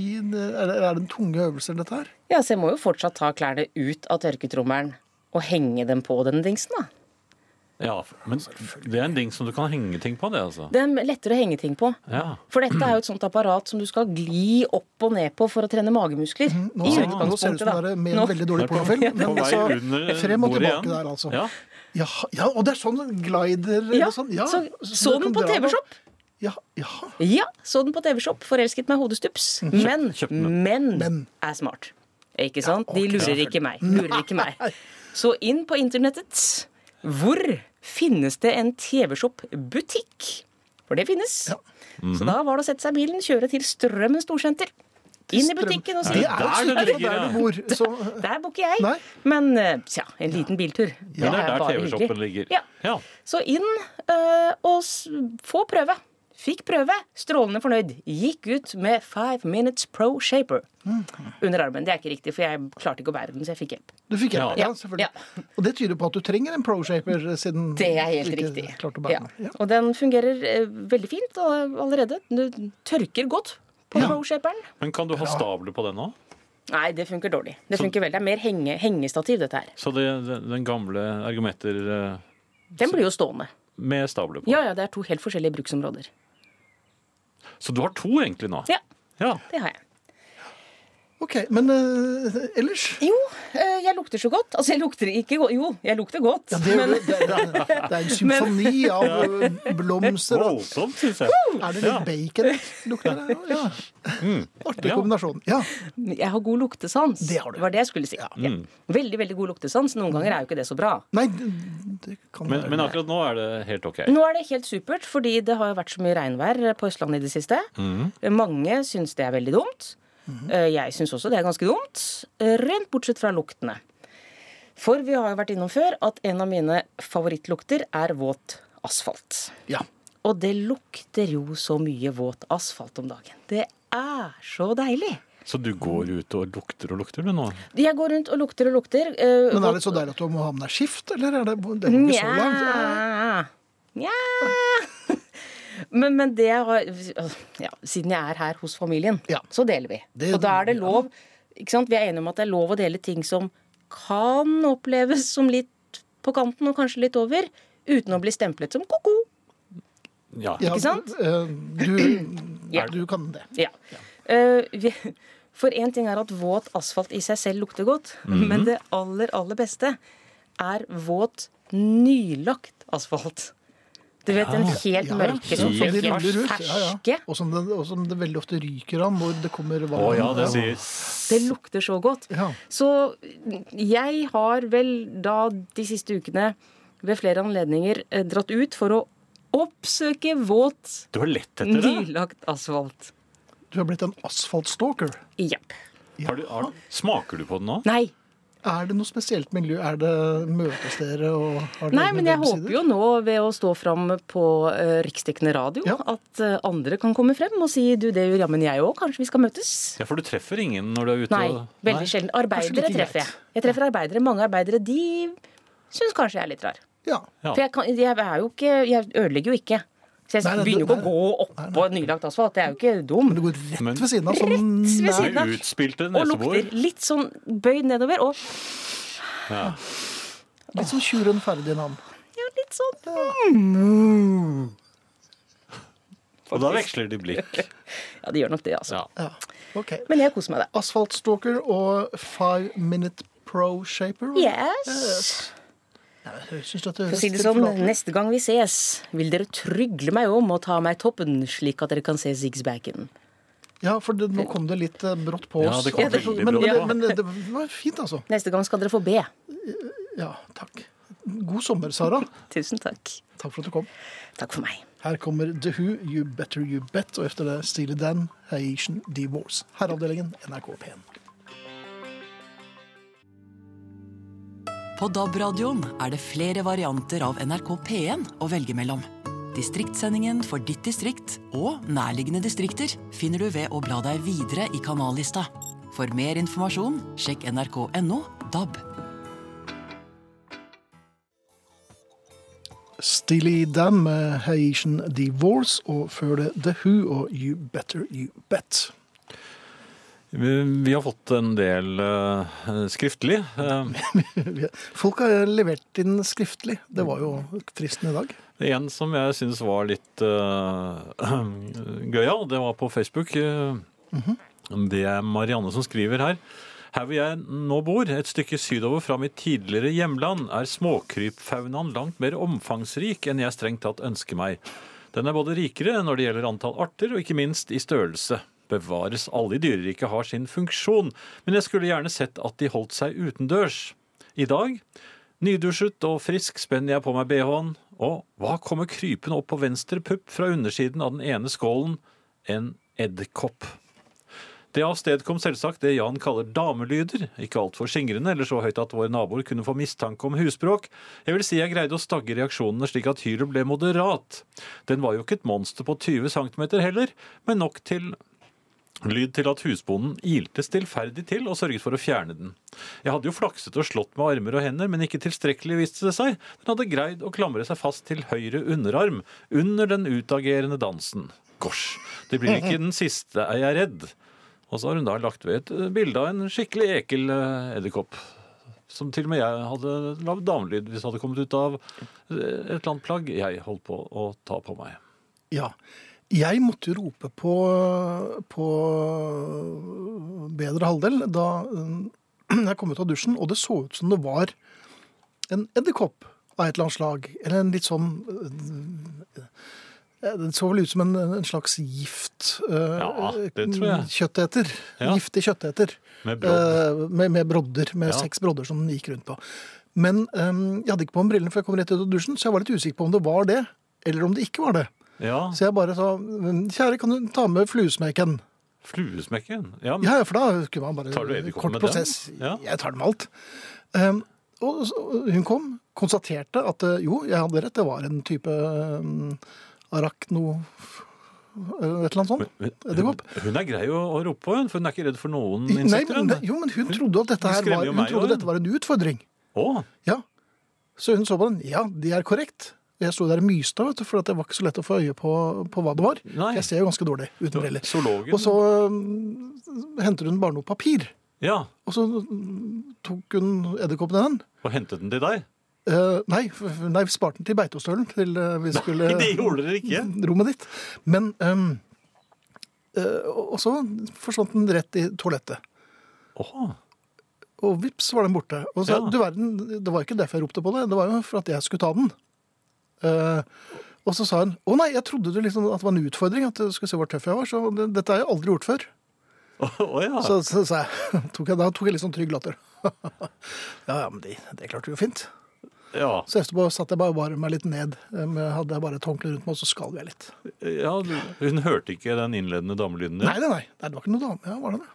S1: I, en- er det, er det en tunge øvelse, dette her?
S4: Ja, så jeg må jo fortsatt ta klærne ut av tørketrommelen og henge dem på denne dingsen, da.
S2: Ja, men det er en ding som du kan henge ting på, det, altså.
S4: Det er lettere å henge ting på.
S2: Ja.
S4: For dette er jo et sånt apparat som du skal gli opp og ned på for å trene magemuskler.
S1: Mhm. Nå
S4: I
S1: ser,
S4: utgangspunktet,
S1: nå ser det ut som
S4: da.
S1: det er med
S4: Nå-
S1: en veldig dårlig
S2: Det er på-
S1: pornofilm.
S2: på
S1: Men
S2: vei
S1: altså,
S2: under, eh,
S1: frem og
S2: bordet
S1: tilbake
S2: igjen.
S1: der, altså.
S2: Ja.
S1: Ja, ja, og det er sånn glider eller
S4: Ja,
S1: sånn. Ja,
S4: så,
S1: du
S4: så den
S1: kan
S4: på
S1: dra den.
S4: TV-Shop.
S1: Ja, ja.
S4: Ja, så den på TV-Shop. Forelsket meg hodestups. Men
S2: kjøpte Mm. den.
S4: menn
S1: Men.
S4: er smart. Ikke sant? De lurer ikke meg. Lurer ikke meg. Så inn på internettet. Hvor finnes det en TV-Shop-butikk? For det finnes. Så da var det å sette seg i bilen, kjøre til Strømmen storsenter. Inn i butikken og si
S1: Det er jo
S2: der det
S1: slutt på
S2: ligger,
S1: der
S2: ja.
S1: du bor. Så,
S4: Der bor ikke jeg.
S1: Nei.
S4: Men eh, tja, en liten biltur.
S2: Men det er der
S4: bare
S2: TV-shoppen
S4: hyggelig.
S2: ligger.
S4: Ja.
S2: Ja.
S4: Så inn eh, og s få prøve. Fikk prøve, strålende fornøyd. Gikk ut med Five Minutes Pro Shaper
S1: Mhm.
S4: under armen. Det er ikke riktig, for jeg klarte ikke å bære den, så jeg fikk hjelp.
S1: Du fikk hjelp, ja,
S4: Ja.
S1: selvfølgelig. Og det tyder på at du trenger en pro-shaper, siden
S4: Det er helt
S1: du ikke
S4: riktig.
S1: klarte å
S4: Ja.
S1: bære den. Ja.
S4: Og den fungerer eh, veldig fint all- allerede. Du tørker godt på Pro Shaperen.
S2: Men kan du ha stabler på den òg?
S4: Nei, det funker dårlig. Det funker veldig. Det er mer henge, hengestativ, dette her.
S2: Så det, den den gamle ergometer eh,
S4: Den blir jo stående.
S2: med stabler på.
S4: Ja, ja, det er to helt forskjellige bruksområder.
S2: Så du har to egentlig nå?
S4: Ja,
S2: Ja.
S4: det har jeg.
S1: Ok, men eh, ellers
S4: Jo, eh, jeg lukter så godt. Altså, jeg lukter ikke godt. Jo, jeg lukter godt.
S1: ja, det, er jo- det, er- det, er- det er en symfoni av eh, blomster og
S2: Voldsomt, syns jeg.
S1: Er det litt bacon lukter det? Ja. Artig
S2: Mm. Ja.
S1: kombinasjon. Ja.
S4: Men jeg har god luktesans.
S1: Det har du.
S4: var det jeg skulle si. Ja. Veldig, veldig god luktesans. Noen ganger er jo ikke det så bra.
S1: Nei, det- det kan
S2: Men,
S1: være
S2: men akkurat nå er det helt OK.
S4: Nå er det helt supert, fordi det har jo vært så mye regnvær på Østlandet i det siste.
S1: Mm.
S4: Mange syns det er veldig dumt. Eh, Jeg syns også det er ganske dumt. eh, Rent bortsett fra luktene. For vi har jo vært innom før at en av mine favorittlukter er våt asfalt.
S1: Ja.
S4: Og det lukter jo så mye våt asfalt om dagen. Det er så deilig.
S2: Så du går ut og lukter og lukter, du nå?
S4: Jeg går rundt og lukter og lukter. eh,
S1: Men er
S4: våt-
S1: det så deilig at du må ha med deg skift, eller er det, det er jo ikke så langt?
S4: Nja. Men, men det jeg har ja, Siden jeg er her hos familien,
S1: Ja.
S4: så deler vi.
S1: Det-
S4: og da er det lov ikke sant? Vi er enige om at det er lov å dele ting som kan oppleves som litt på kanten og kanskje litt over, uten å bli stemplet som ko-ko.
S2: Ja.
S1: Ja,
S4: Ikke sant?
S1: eh, Du,
S4: Ja.
S1: du kan det.
S4: Ja. Eh, vi, for én ting er at våt asfalt i seg selv lukter godt,
S1: Mhm.
S4: men det aller, aller beste er våt, nylagt asfalt. Du vet den helt
S1: Ja,
S4: mørke som
S1: som
S4: helt
S1: de ruller ut. Ja, ja.
S4: ferske.
S1: Og, som det, og som det veldig ofte ryker av når det kommer vann.
S2: Å ja, det sier
S4: Det lukter så godt.
S1: Ja.
S4: Så jeg har vel da de siste ukene ved flere anledninger eh, dratt ut for å oppsøke våt,
S2: Du har lett etter det?
S4: nylagt asfalt.
S1: Du har blitt en asfaltstalker.
S4: Jepp.
S2: Har du, har, smaker du på den nå?
S4: Nei,
S1: Er det noe spesielt miljø? Er det møtes dere og har dere
S4: Nei, men jeg
S1: websider?
S4: håper jo nå, ved å stå fram på uh, riksdekkende radio,
S1: Ja.
S4: at eh, andre kan komme frem og si du, det gjør jammen jeg òg, kanskje vi skal møtes?
S2: Ja, For du treffer ingen når du er ute
S4: Nei,
S2: og
S4: veldig sjelden. Arbeidere
S1: like
S4: treffer jeg.
S1: greit.
S4: Jeg treffer arbeidere. Mange arbeidere de syns kanskje jeg er litt rar.
S1: Ja.
S2: Ja.
S4: For jeg, kan, jeg er jo ikke Jeg ødelegger jo ikke. Så jeg
S1: Nei, nei,
S4: begynner jo
S1: du-
S4: ikke å gå oppå nylagt asfalt. Det er jo ikke dum.
S1: Men det går rett
S2: Men-
S1: ved siden av. Sånn,
S4: Rett ved
S1: nær-
S4: siden av.
S2: Med utspilte
S4: Og lukter
S2: nesebor?
S4: litt sånn bøyd nedover. Og
S1: Litt som tjuren Ferdinand.
S4: ja, litt sånn Mm.
S2: Og da veksler de blikk.
S4: Ja, det gjør nok det, altså.
S2: Ja.
S1: Ja. Ok.
S4: Men jeg koser meg, det.
S1: Asfaltstalker og Five Minute Pro Shaper. var det?
S4: Yes.
S1: Jeg synes dette høres
S4: For å si det sånn,
S1: tilforlatelig ut.
S4: neste gang vi ses, vil dere trygle meg om og ta av meg toppen, slik at dere kan se zigzbagen.
S1: Ja, for det, nå kom det litt eh, brått på
S2: Ja,
S1: oss.
S2: det kom
S1: Og
S2: veldig
S1: men,
S2: brått på.
S1: men, men det var fint, altså.
S4: Neste gang skal dere få be.
S1: Ja, takk. God sommer, Sara.
S4: Tusen takk.
S1: Takk for at du kom.
S4: Takk for meg.
S1: Her kommer The Who, You Better You Bet, og etter det Steely Dan, Haitian Divorce. Herreavdelingen, NRK P1.
S3: På DAB-radioen er det flere varianter av NRK P1 å velge mellom. Distriktssendingen for ditt distrikt og nærliggende distrikter finner du ved å bla deg videre i kanallista. For mer informasjon, sjekk nrk.no DAB.
S1: Steely Dan med Haitian Divorce, og før det The Who og You Better You Bet.
S2: Vi, vi har fått en del eh, skriftlig. Eh,
S1: Folk har levert inn skriftlig. Det var jo fristen i dag.
S2: En som jeg syns var litt uh, gøyal, det var på Facebook. eh, Det er Marianne som skriver her. Her hvor jeg nå bor, et stykke sydover fra mitt tidligere hjemland, er småkrypfaunaen langt mer omfangsrik enn jeg strengt tatt ønsker meg. Den er både rikere når det gjelder antall arter, og ikke minst i størrelse. Bevares, alle i dyreriket har sin funksjon, men jeg skulle gjerne sett at de holdt seg utendørs. I dag Nydusjet og frisk spenner jeg på meg BH-en, og hva kommer krypende opp på venstre pupp fra undersiden av den ene skålen? En edderkopp. Det avstedkom selvsagt det Jan kaller damelyder, ikke altfor skingrende eller så høyt at våre naboer kunne få mistanke om husbråk. Jeg vil si jeg greide å stagge reaksjonene slik at hylet ble moderat. Den var jo ikke et monster på 20 cm heller, men nok til Lyd til at husbonden ilte stillferdig til og sørget for å fjerne den. Jeg hadde jo flakset og slått med armer og hender, men ikke tilstrekkelig viste det seg. Den hadde greid å klamre seg fast til høyre underarm under den utagerende dansen. Gosh, det blir ikke den siste, er jeg redd. Og så har hun da lagt ved et eh, bilde av en skikkelig ekel eh, edderkopp. Som til og med jeg hadde lagd damelyd hvis det hadde kommet ut av eh, et eller annet plagg jeg holdt på å ta på meg.
S1: Ja. Jeg måtte jo rope på, på bedre halvdel da eh, jeg kom ut av dusjen, og det så ut som det var en edderkopp av et eller annet slag. Eller en litt sånn eh, Det så vel ut som en, en slags gift eh,
S2: Ja, det tror jeg.
S1: kjøtteter.
S2: Ja.
S1: Giftig kjøtteter.
S2: Med brodd.
S1: Eh, Med, med brodder, med
S2: Ja.
S1: seks brodder som den gikk rundt på. Men eh, jeg hadde ikke på meg brillene før jeg kom rett ut av dusjen, så jeg var litt usikker på om det var det, eller om det ikke var det.
S2: Ja,
S1: Så jeg bare sa kjære, kan du ta med fluesmekken?
S2: fluesmekken. Ja, men
S1: Ja, ja, for da kunne man bare
S2: Tar du
S1: Kort
S2: edderkoppen med den?
S1: prosess.
S2: Ja.
S1: Jeg tar den med alt. Um, og så- hun kom, konstaterte at eh, jo, jeg hadde rett, det var en type um, arachno... Eller et eller annet sånt.
S2: Men
S1: Edderkopp.
S2: Hun, hun er grei å, å rope på, hun, for hun er ikke redd for noen
S1: Nei,
S2: insekter.
S1: men,
S2: hun.
S1: nei, jo, men hun trodde at dette,
S2: Hun
S1: her
S2: skremmer
S1: var,
S2: jo
S1: hun
S2: meg også,
S1: trodde dette var en utfordring.
S2: Å,
S1: Ja. Så hun så på den. Ja, det er korrekt. Jeg sto der og myste, vet du, for at det var ikke så lett å få øye på, på hva det var.
S2: Nei.
S1: Jeg ser jo ganske dårlig uten briller.
S2: zoologen.
S1: Og så øhm, henter hun bare noe papir.
S2: Ja,
S1: Og så øhm, tok hun edderkoppen i den.
S2: og hentet den til deg.
S1: Eh, nei, f- f- nei, vi sparte den til Beitostølen. Til eh, Mm. vi skulle
S2: Det gjorde dere ikke.
S1: rommet ditt. Men øhm, eh, Og og så forsvant den rett i toalettet.
S2: Åh,
S1: Og vips var den borte. Og så,
S2: Ja.
S1: du verden, Det var ikke derfor jeg ropte på det, det var jo for at jeg skulle ta den. Eh, og så sa hun å nei, jeg trodde du liksom at det var en utfordring, at du skulle se hvor tøff jeg var. Så det, dette har jeg aldri gjort før.
S2: Åh, ja.
S1: Så, så, sa jeg, tok jeg, da tok jeg litt sånn trygg latter. ja, ja, men det, det klarte du jo fint.
S2: ja.
S1: Så etterpå satt jeg bare og bar meg litt ned. eh, med- Hadde jeg bare et håndkle rundt meg, og så skalv jeg litt.
S2: ja. Hun hørte ikke den innledende damelyden
S1: Nei,
S2: din.
S1: nei, nei, nei, det var ikke noe dame. Ja, var det det?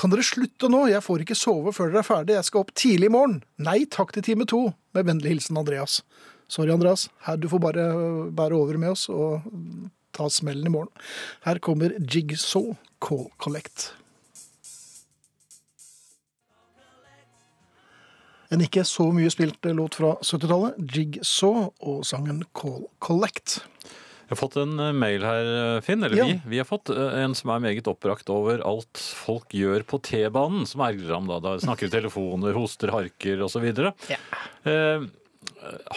S1: Kan dere slutte nå? Jeg får ikke sove før dere er ferdig. Jeg skal opp tidlig i morgen. Nei takk til time to. Med vennlig hilsen Andreas. Sorry, Andreas. Her, du får bare øh, bære over med oss og øh, ta smellen i morgen. Her kommer Jigsaw Call Collect. En ikke så mye spilt øh, låt fra 70-tallet, Jigsaw og sangen Call Collect.
S2: Jeg har fått en eh, mail her, eh, Finn, eller
S1: Ja.
S2: vi. Vi har fått eh, en som er meget oppbrakt over alt folk gjør på T-banen, som ergrer ham da. da snakker i telefoner, hoster, harker osv.
S1: Ja.
S2: Eh,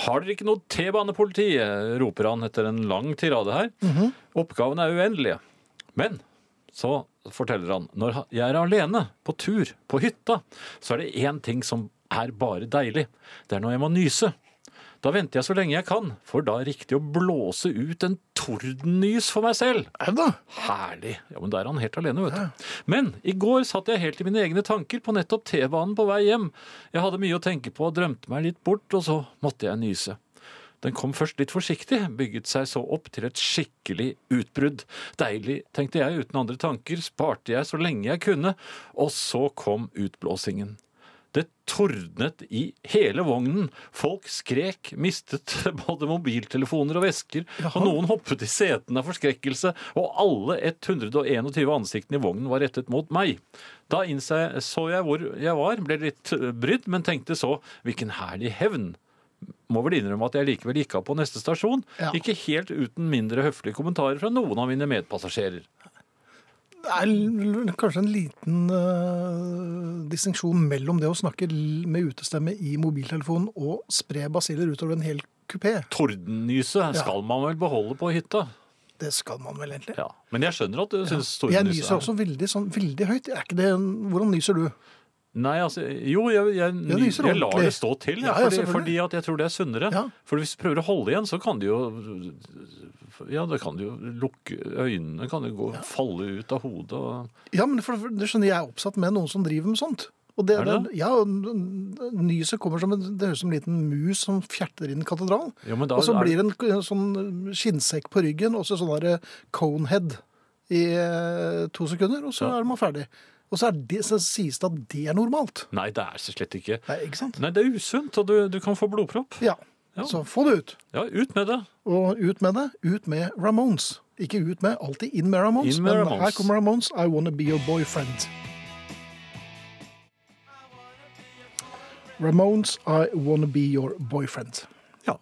S2: har dere ikke noe T-banepoliti? eh, roper han etter en lang tirade her.
S1: Mhm.
S2: Oppgavene er uendelige. Men så forteller han når han- jeg er alene, på tur, på hytta, så er det én ting som er bare deilig. Det er når jeg må nyse. Da venter jeg så lenge jeg kan, for da er det riktig å blåse ut en tordennys for meg selv.
S1: Au da!
S2: Herlig. Ja, men da er han helt alene, vet du. Men i går satt jeg helt i mine egne tanker på nettopp T-banen på vei hjem. Jeg hadde mye å tenke på og drømte meg litt bort, og så måtte jeg nyse. Den kom først litt forsiktig, bygget seg så opp til et skikkelig utbrudd. Deilig, tenkte jeg uten andre tanker, sparte jeg så lenge jeg kunne, og så kom utblåsingen. Det tordnet i hele vognen. Folk skrek, mistet både mobiltelefoner og vesker, og noen hoppet i setene av forskrekkelse, og alle 121 ansiktene i vognen var rettet mot meg. Da innså jeg, så jeg hvor jeg var, ble litt eh, brydd, men tenkte så hvilken herlig hevn. Må vel innrømme at jeg likevel gikk av på neste stasjon,
S1: Ja.
S2: ikke helt uten mindre høflige kommentarer fra noen av mine medpassasjerer.
S1: Det er l- l- kanskje en liten uh, distinksjon mellom det å snakke l- med utestemme i mobiltelefonen og spre basiller utover en hel kupé.
S2: Tordennyse skal man vel beholde på hytta?
S1: Det skal man vel egentlig.
S2: Ja. Men jeg skjønner at du syns
S1: Jeg
S2: tordennyse
S1: nyser også veldig, sånn, veldig høyt. Er ikke det, en- hvordan nyser du?
S2: Nei, altså, jo, jeg, jeg,
S1: Ja, det viser
S2: jeg lar
S1: ordentlig.
S2: det stå til.
S1: Ja,
S2: Ja,
S1: ja,
S2: fordi,
S1: selvfølgelig.
S2: fordi at jeg tror det er sunnere.
S1: Ja.
S2: For hvis du prøver å holde igjen, så kan du jo Ja, da kan du jo lukke øynene, kan jo gå, falle ut av hodet og
S1: Ja, men for, for, du skjønner, jeg er oppsatt med noen som driver med sånt. Og det,
S2: Er det
S1: det? Ja, og n- n- Nyset kommer som en, det høres ut som en liten mus som fjerter inn en katedral.
S2: Ja, men da
S1: og så
S2: er-
S1: blir det en k- sånn skinnsekk på ryggen, og så sånn der conehead i eh, to sekunder, og så
S2: Ja.
S1: er man ferdig. Og så, er det, så sies det at det er normalt.
S2: Nei, det er så slett ikke.
S1: Nei, ikke sant?
S2: Nei, det er usunt, og du, du kan få blodpropp.
S1: Ja.
S2: Ja.
S1: Så få det ut.
S2: Ja, ut med det.
S1: Og ut med det. Ut med Ramones. Ikke ut med, alltid inn med Ramones.
S2: Inn med
S1: men
S2: Ramones.
S1: her kommer Ramones, I Wanna Be Your Boyfriend. Ramones, I Wanna Be Your Boyfriend.
S2: Ja.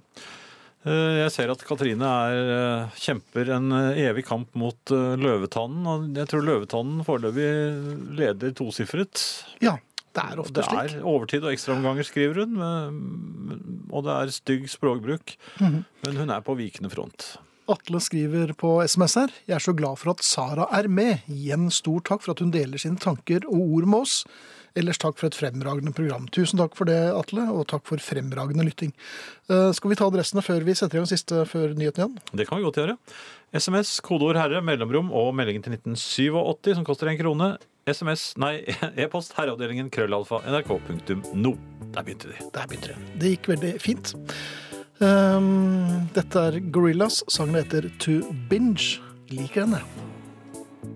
S2: Eh, Jeg ser at Katrine er, eh, kjemper en eh, evig kamp mot eh, løvetannen. og Jeg tror løvetannen foreløpig leder tosifret.
S1: Ja, det er ofte
S2: Det
S1: slik.
S2: er overtid og ekstraomganger, skriver hun. men- Og det er stygg språkbruk. Men hun er på vikende front.
S1: Atle skriver på SMS her. Jeg er så glad for at Sara er med. Igjen stor takk for at hun deler sine tanker og ord med oss. Ellers takk for et fremragende program. Tusen takk for det, Atle, og takk for fremragende lytting. Eh, skal vi ta adressene før vi setter i gang siste før nyheten igjen?
S2: Det kan vi godt gjøre. SMS, kodeord 'herre', mellomrom og meldingen til 1987 som koster én krone. SMS, nei, e-post herreavdelingen krøllalfa nrk.no. Der begynte de.
S1: Der begynte det. Det gikk veldig fint. Ehm, dette er Gorillas. Sangen heter To Binge. Liker den, jeg.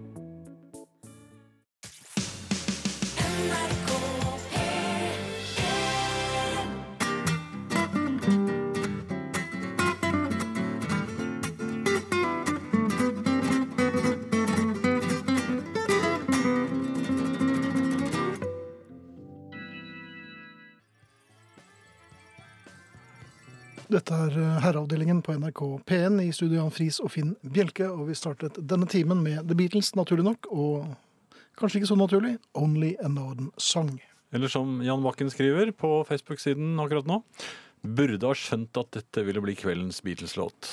S1: Dette er eh, Herreavdelingen på NRK P1 i studio Jan Friis og Finn Bjelke. Og vi startet denne timen med The Beatles, naturlig nok. Og kanskje ikke så naturlig, Only a Northern Song.
S2: Eller som Jan Bakken skriver på Facebook-siden akkurat nå. Burde ha skjønt at dette ville bli kveldens Beatles-låt.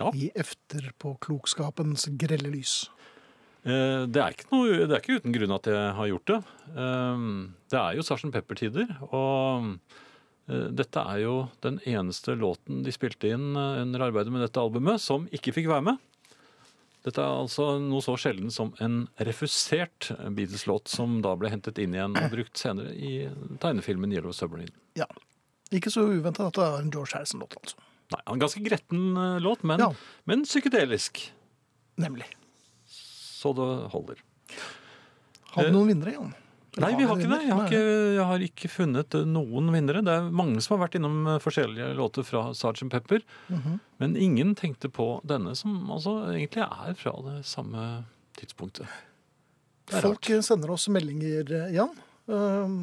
S2: Ja.
S1: I efterpåklokskapens grelle lys.
S2: Eh, Det er, ikke noe, det er ikke uten grunn at jeg har gjort det. Eh, Det er jo Sarsen Pepper-tider, og eh, dette er jo den eneste låten de spilte inn eh, under arbeidet med dette albumet, som ikke fikk være med. Dette er altså noe så sjelden som en refusert eh, Beatles-låt, som da ble hentet inn igjen og brukt senere i tegnefilmen Yellow Submarine.
S1: Ja. Ikke så uventa at det er en George Harrison-låt, altså.
S2: Nei, en ganske gretten eh, låt, men,
S1: Ja.
S2: men psykedelisk.
S1: Nemlig.
S2: Så det holder.
S1: Har vi noen vinnere igjen? Eller
S2: Nei, vi har ikke
S1: en
S2: det. Jeg har
S1: vinner?
S2: ikke, jeg har ikke funnet eh, noen vinnere. Det er mange som har vært innom eh, forskjellige låter fra Sgt. Pepper. Men ingen tenkte på denne, som altså egentlig er fra det samme tidspunktet. Det er
S1: Folk sender oss meldinger, eh, Jan. Ehm,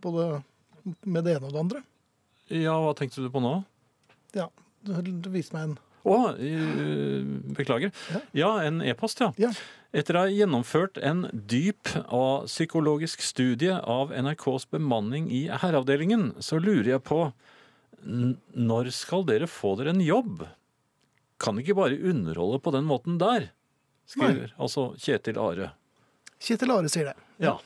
S1: Både med det ene og det andre.
S2: Ja, hva tenkte du på nå?
S1: Ja, du, du viste meg en.
S2: Å, eh, beklager. Ja, en e-post, ja.
S1: Ja.
S2: Etter å ha gjennomført en dyp og psykologisk studie av NRKs bemanning i herreavdelingen, så lurer jeg på n- når skal dere få dere en jobb? Kan ikke bare underholde på den måten der, skriver altså Kjetil Are.
S1: Kjetil Are sier det.
S2: Ja.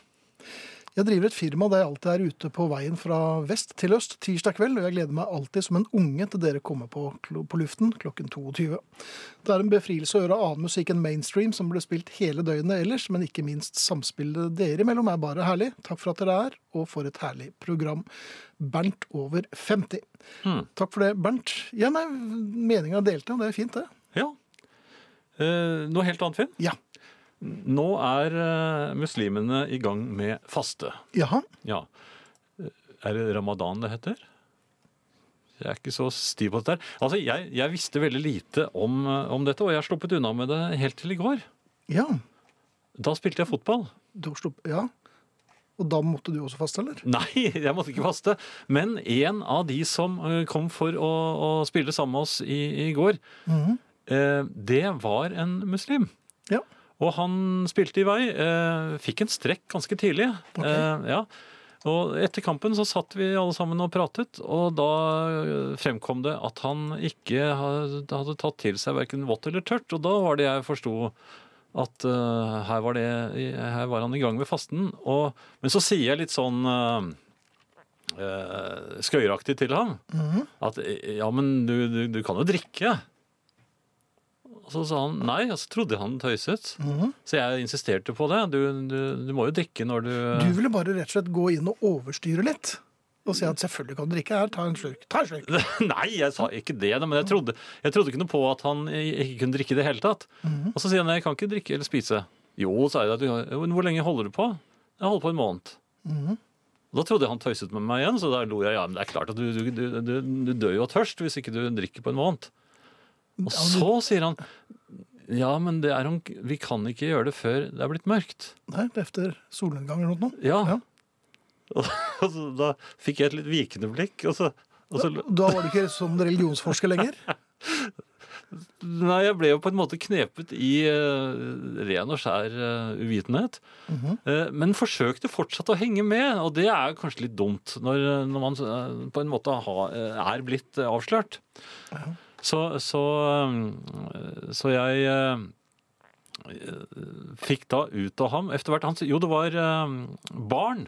S1: Jeg driver et firma der jeg alltid er ute på veien fra vest til øst tirsdag kveld, og jeg gleder meg alltid som en unge til dere kommer på, klo- på luften klokken 22. Det er en befrielse å høre annen musikk enn mainstream som ble spilt hele døgnet ellers, men ikke minst samspillet dere imellom er bare herlig. Takk for at dere er, og for et herlig program. Bernt over 50. Takk for det, Bernt. Ja, nei, meninga delte, det er fint, det.
S2: Ja. Eh, noe helt annet, Finn.
S1: Ja.
S2: Nå er eh, muslimene i gang med faste.
S1: Jaha.
S2: Ja. Eh, Er det ramadan det heter? Jeg er ikke så stiv på dette. her. Altså, jeg, jeg visste veldig lite om, eh, om dette, og jeg har sluppet unna med det helt til i går.
S1: Ja.
S2: Da spilte jeg fotball.
S1: Du har slupp- ja. Og da måtte du også faste, eller?
S2: Nei, jeg måtte ikke faste. Men en av de som eh, kom for å, å spille sammen med oss i, i går, eh, det var en muslim.
S1: Ja.
S2: Og han spilte i vei. Eh, fikk en strekk ganske tidlig.
S1: Ok.
S2: Eh, ja. Og etter kampen så satt vi alle sammen og pratet, og da eh, fremkom det at han ikke ha- hadde tatt til seg verken vått eller tørt. Og da var det jeg forsto at eh, her, var det, her var han i gang med fasten. Og, men så sier jeg litt sånn eh, eh, skøyeraktig til ham at eh, ja, men du, du, du kan jo drikke. Og så sa han nei, og så trodde han tøyset. Så jeg insisterte på det. Du, du, du må jo drikke når du
S1: Du ville bare rett og slett gå inn og overstyre litt. Og si at selvfølgelig kan du drikke her, ta en slurk. Ta en slurk.
S2: Nei, jeg sa ikke det, da, men jeg trodde, jeg trodde ikke noe på at han ikke kunne drikke i det hele tatt.
S1: Mhm.
S2: Og så sier han jeg kan ikke drikke eller spise. Jo, sa jeg. da, du- «Jo, men Hvor lenge holder du på? Jeg holder på en måned.
S1: Mhm.
S2: Og Da trodde jeg han tøyset med meg igjen, så da lo jeg. Ja, men det er klart at du, du, du, du, du dør jo av tørst hvis ikke du drikker på en måned. Og så sier han ja, men det er om, vi kan ikke gjøre det før det er blitt mørkt.
S1: Nei, det er efter solnedgang eller noe.
S2: Ja.
S1: Ja.
S2: Og, så da fikk jeg et litt vikende blikk, og så, og så
S1: Da var du ikke sånn religionsforsker lenger.
S2: Nei, jeg ble jo på en måte knepet i eh, ren og skjær eh, uvitenhet. Eh, men forsøkte fortsatt å henge med, og det er jo kanskje litt dumt når, når man eh, på en måte ha, eh, er blitt eh, avslørt. Så, så, eh, så jeg eh, eh, fikk da ut av ham etter hvert han, Jo, det var eh, barn.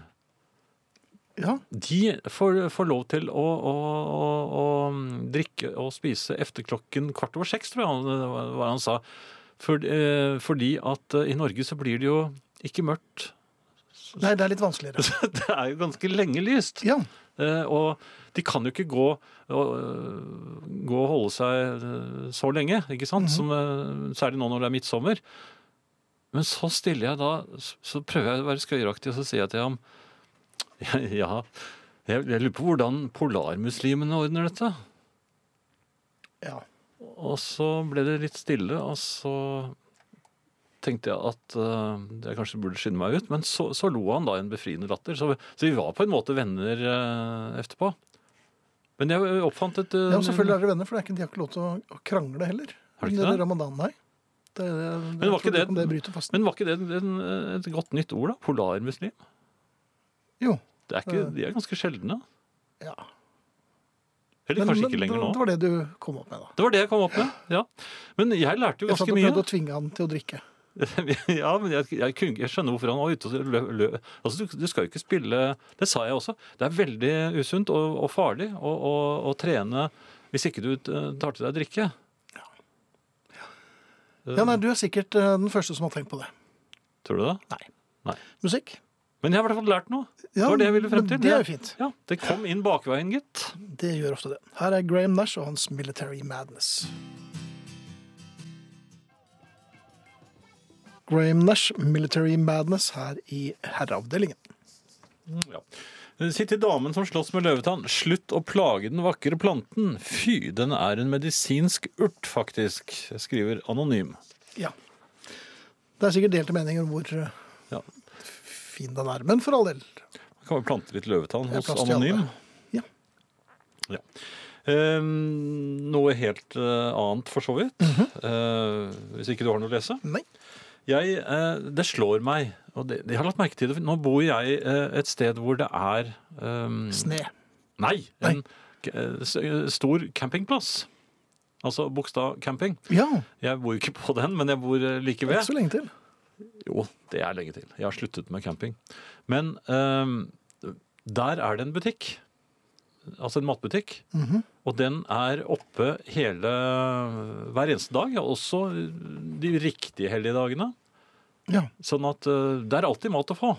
S1: Ja,
S2: De får, får lov til å, å, å, å drikke og spise efter klokken kvart over seks, tror jeg han- det var hva han sa. For, eh, fordi at eh, i Norge så blir det jo ikke mørkt.
S1: Nei, det er litt vanskeligere.
S2: Det er jo ganske lenge lyst.
S1: Ja,
S2: Eh, og de kan jo ikke gå og, øh, gå og holde seg øh, så lenge, ikke sant? Som, øh, særlig nå når det er midtsommer. Men så stiller jeg da, så- så prøver jeg å være skøyeraktig, og så sier jeg til ham Ja, jeg, jeg lurer på hvordan polarmuslimene ordner dette.
S1: ja.
S2: Og så ble det litt stille, og så tenkte jeg at øh, jeg kanskje burde skynde meg ut. Men så, så lo han da en befriende latter, så, så vi var på en måte venner øh, etterpå. Men jeg oppfant et øh,
S1: ja og selvfølgelig er dere venner, for det er ikke, de har ikke lov til å, å krangle heller.
S2: Har de ikke
S1: Under
S2: det?
S1: Ramadan, nei. Det, Men
S2: var ikke det-
S1: det bryter fasten.
S2: Men var ikke det en, et godt nytt ord, da? Polarmuslim?
S1: Jo.
S2: Det er ikke, de er ganske sjeldne.
S1: Ja.
S2: Eller
S1: Men-
S2: kanskje
S1: men
S2: ikke lenger
S1: det-
S2: nå.
S1: Det var det du kom opp med, da.
S2: Det var det jeg kom opp med. ja. Men jeg lærte jo
S1: Jeg satt
S2: ganske
S1: og
S2: mye.
S1: prøvde å tvinge han til å drikke.
S2: ja, men jeg, jeg, kunne- jeg skjønner hvorfor han var ute og lø, lø. Altså, du, du skal jo ikke spille Det sa jeg også. Det er veldig usunt og, og farlig å, å, å trene hvis ikke du eh, tar til deg drikke.
S1: Ja, nei, Du er sikkert eh, den første som har tenkt på det.
S2: Tror du det?
S1: Musikk?
S2: Men jeg har i hvert fall lært noe.
S1: Ja,
S2: det var det jeg ville frem
S1: men
S2: til.
S1: Det er jo fint.
S2: Ja, det kom inn bakveien, gitt.
S1: Det gjør ofte det. Her er Graham Nash og hans Military Madness. Graham Nash, Military Madness, her i Herreavdelingen.
S2: Mm, Ja. Si til damen som slåss med løvetann, slutt å plage den vakre planten. Fy, den er en medisinsk urt, faktisk, skriver anonym.
S1: Ja. Det er sikkert delte meninger om hvor eh,
S2: Ja.
S1: fin den er, men for all del.
S2: Kan vi plante litt løvetann
S1: Det er
S2: hos
S1: plass til
S2: anonym?
S1: alle. Ja.
S2: Ja. Eh, noe helt eh, annet, for så vidt.
S1: Mhm.
S2: Eh, hvis ikke du har noe å lese.
S1: Nei.
S2: Jeg, eh, det slår meg, og det, jeg har lagt merke til det. for Nå bor jeg eh, et sted hvor det er eh,
S1: Sne.
S2: Nei, en eh, s- eh, stor campingplass. Altså Bogstad camping.
S1: Ja,
S2: Jeg bor jo ikke på den, men jeg bor eh, like
S1: ikke
S2: ved.
S1: så lenge til.
S2: Jo, det er lenge til. Jeg har sluttet med camping. Men ehm, der er det en butikk. Altså en matbutikk. Og den er oppe hele hver eneste dag. ja, Også de riktige helligdagene.
S1: Ja.
S2: Sånn at eh, det er alltid mat å få.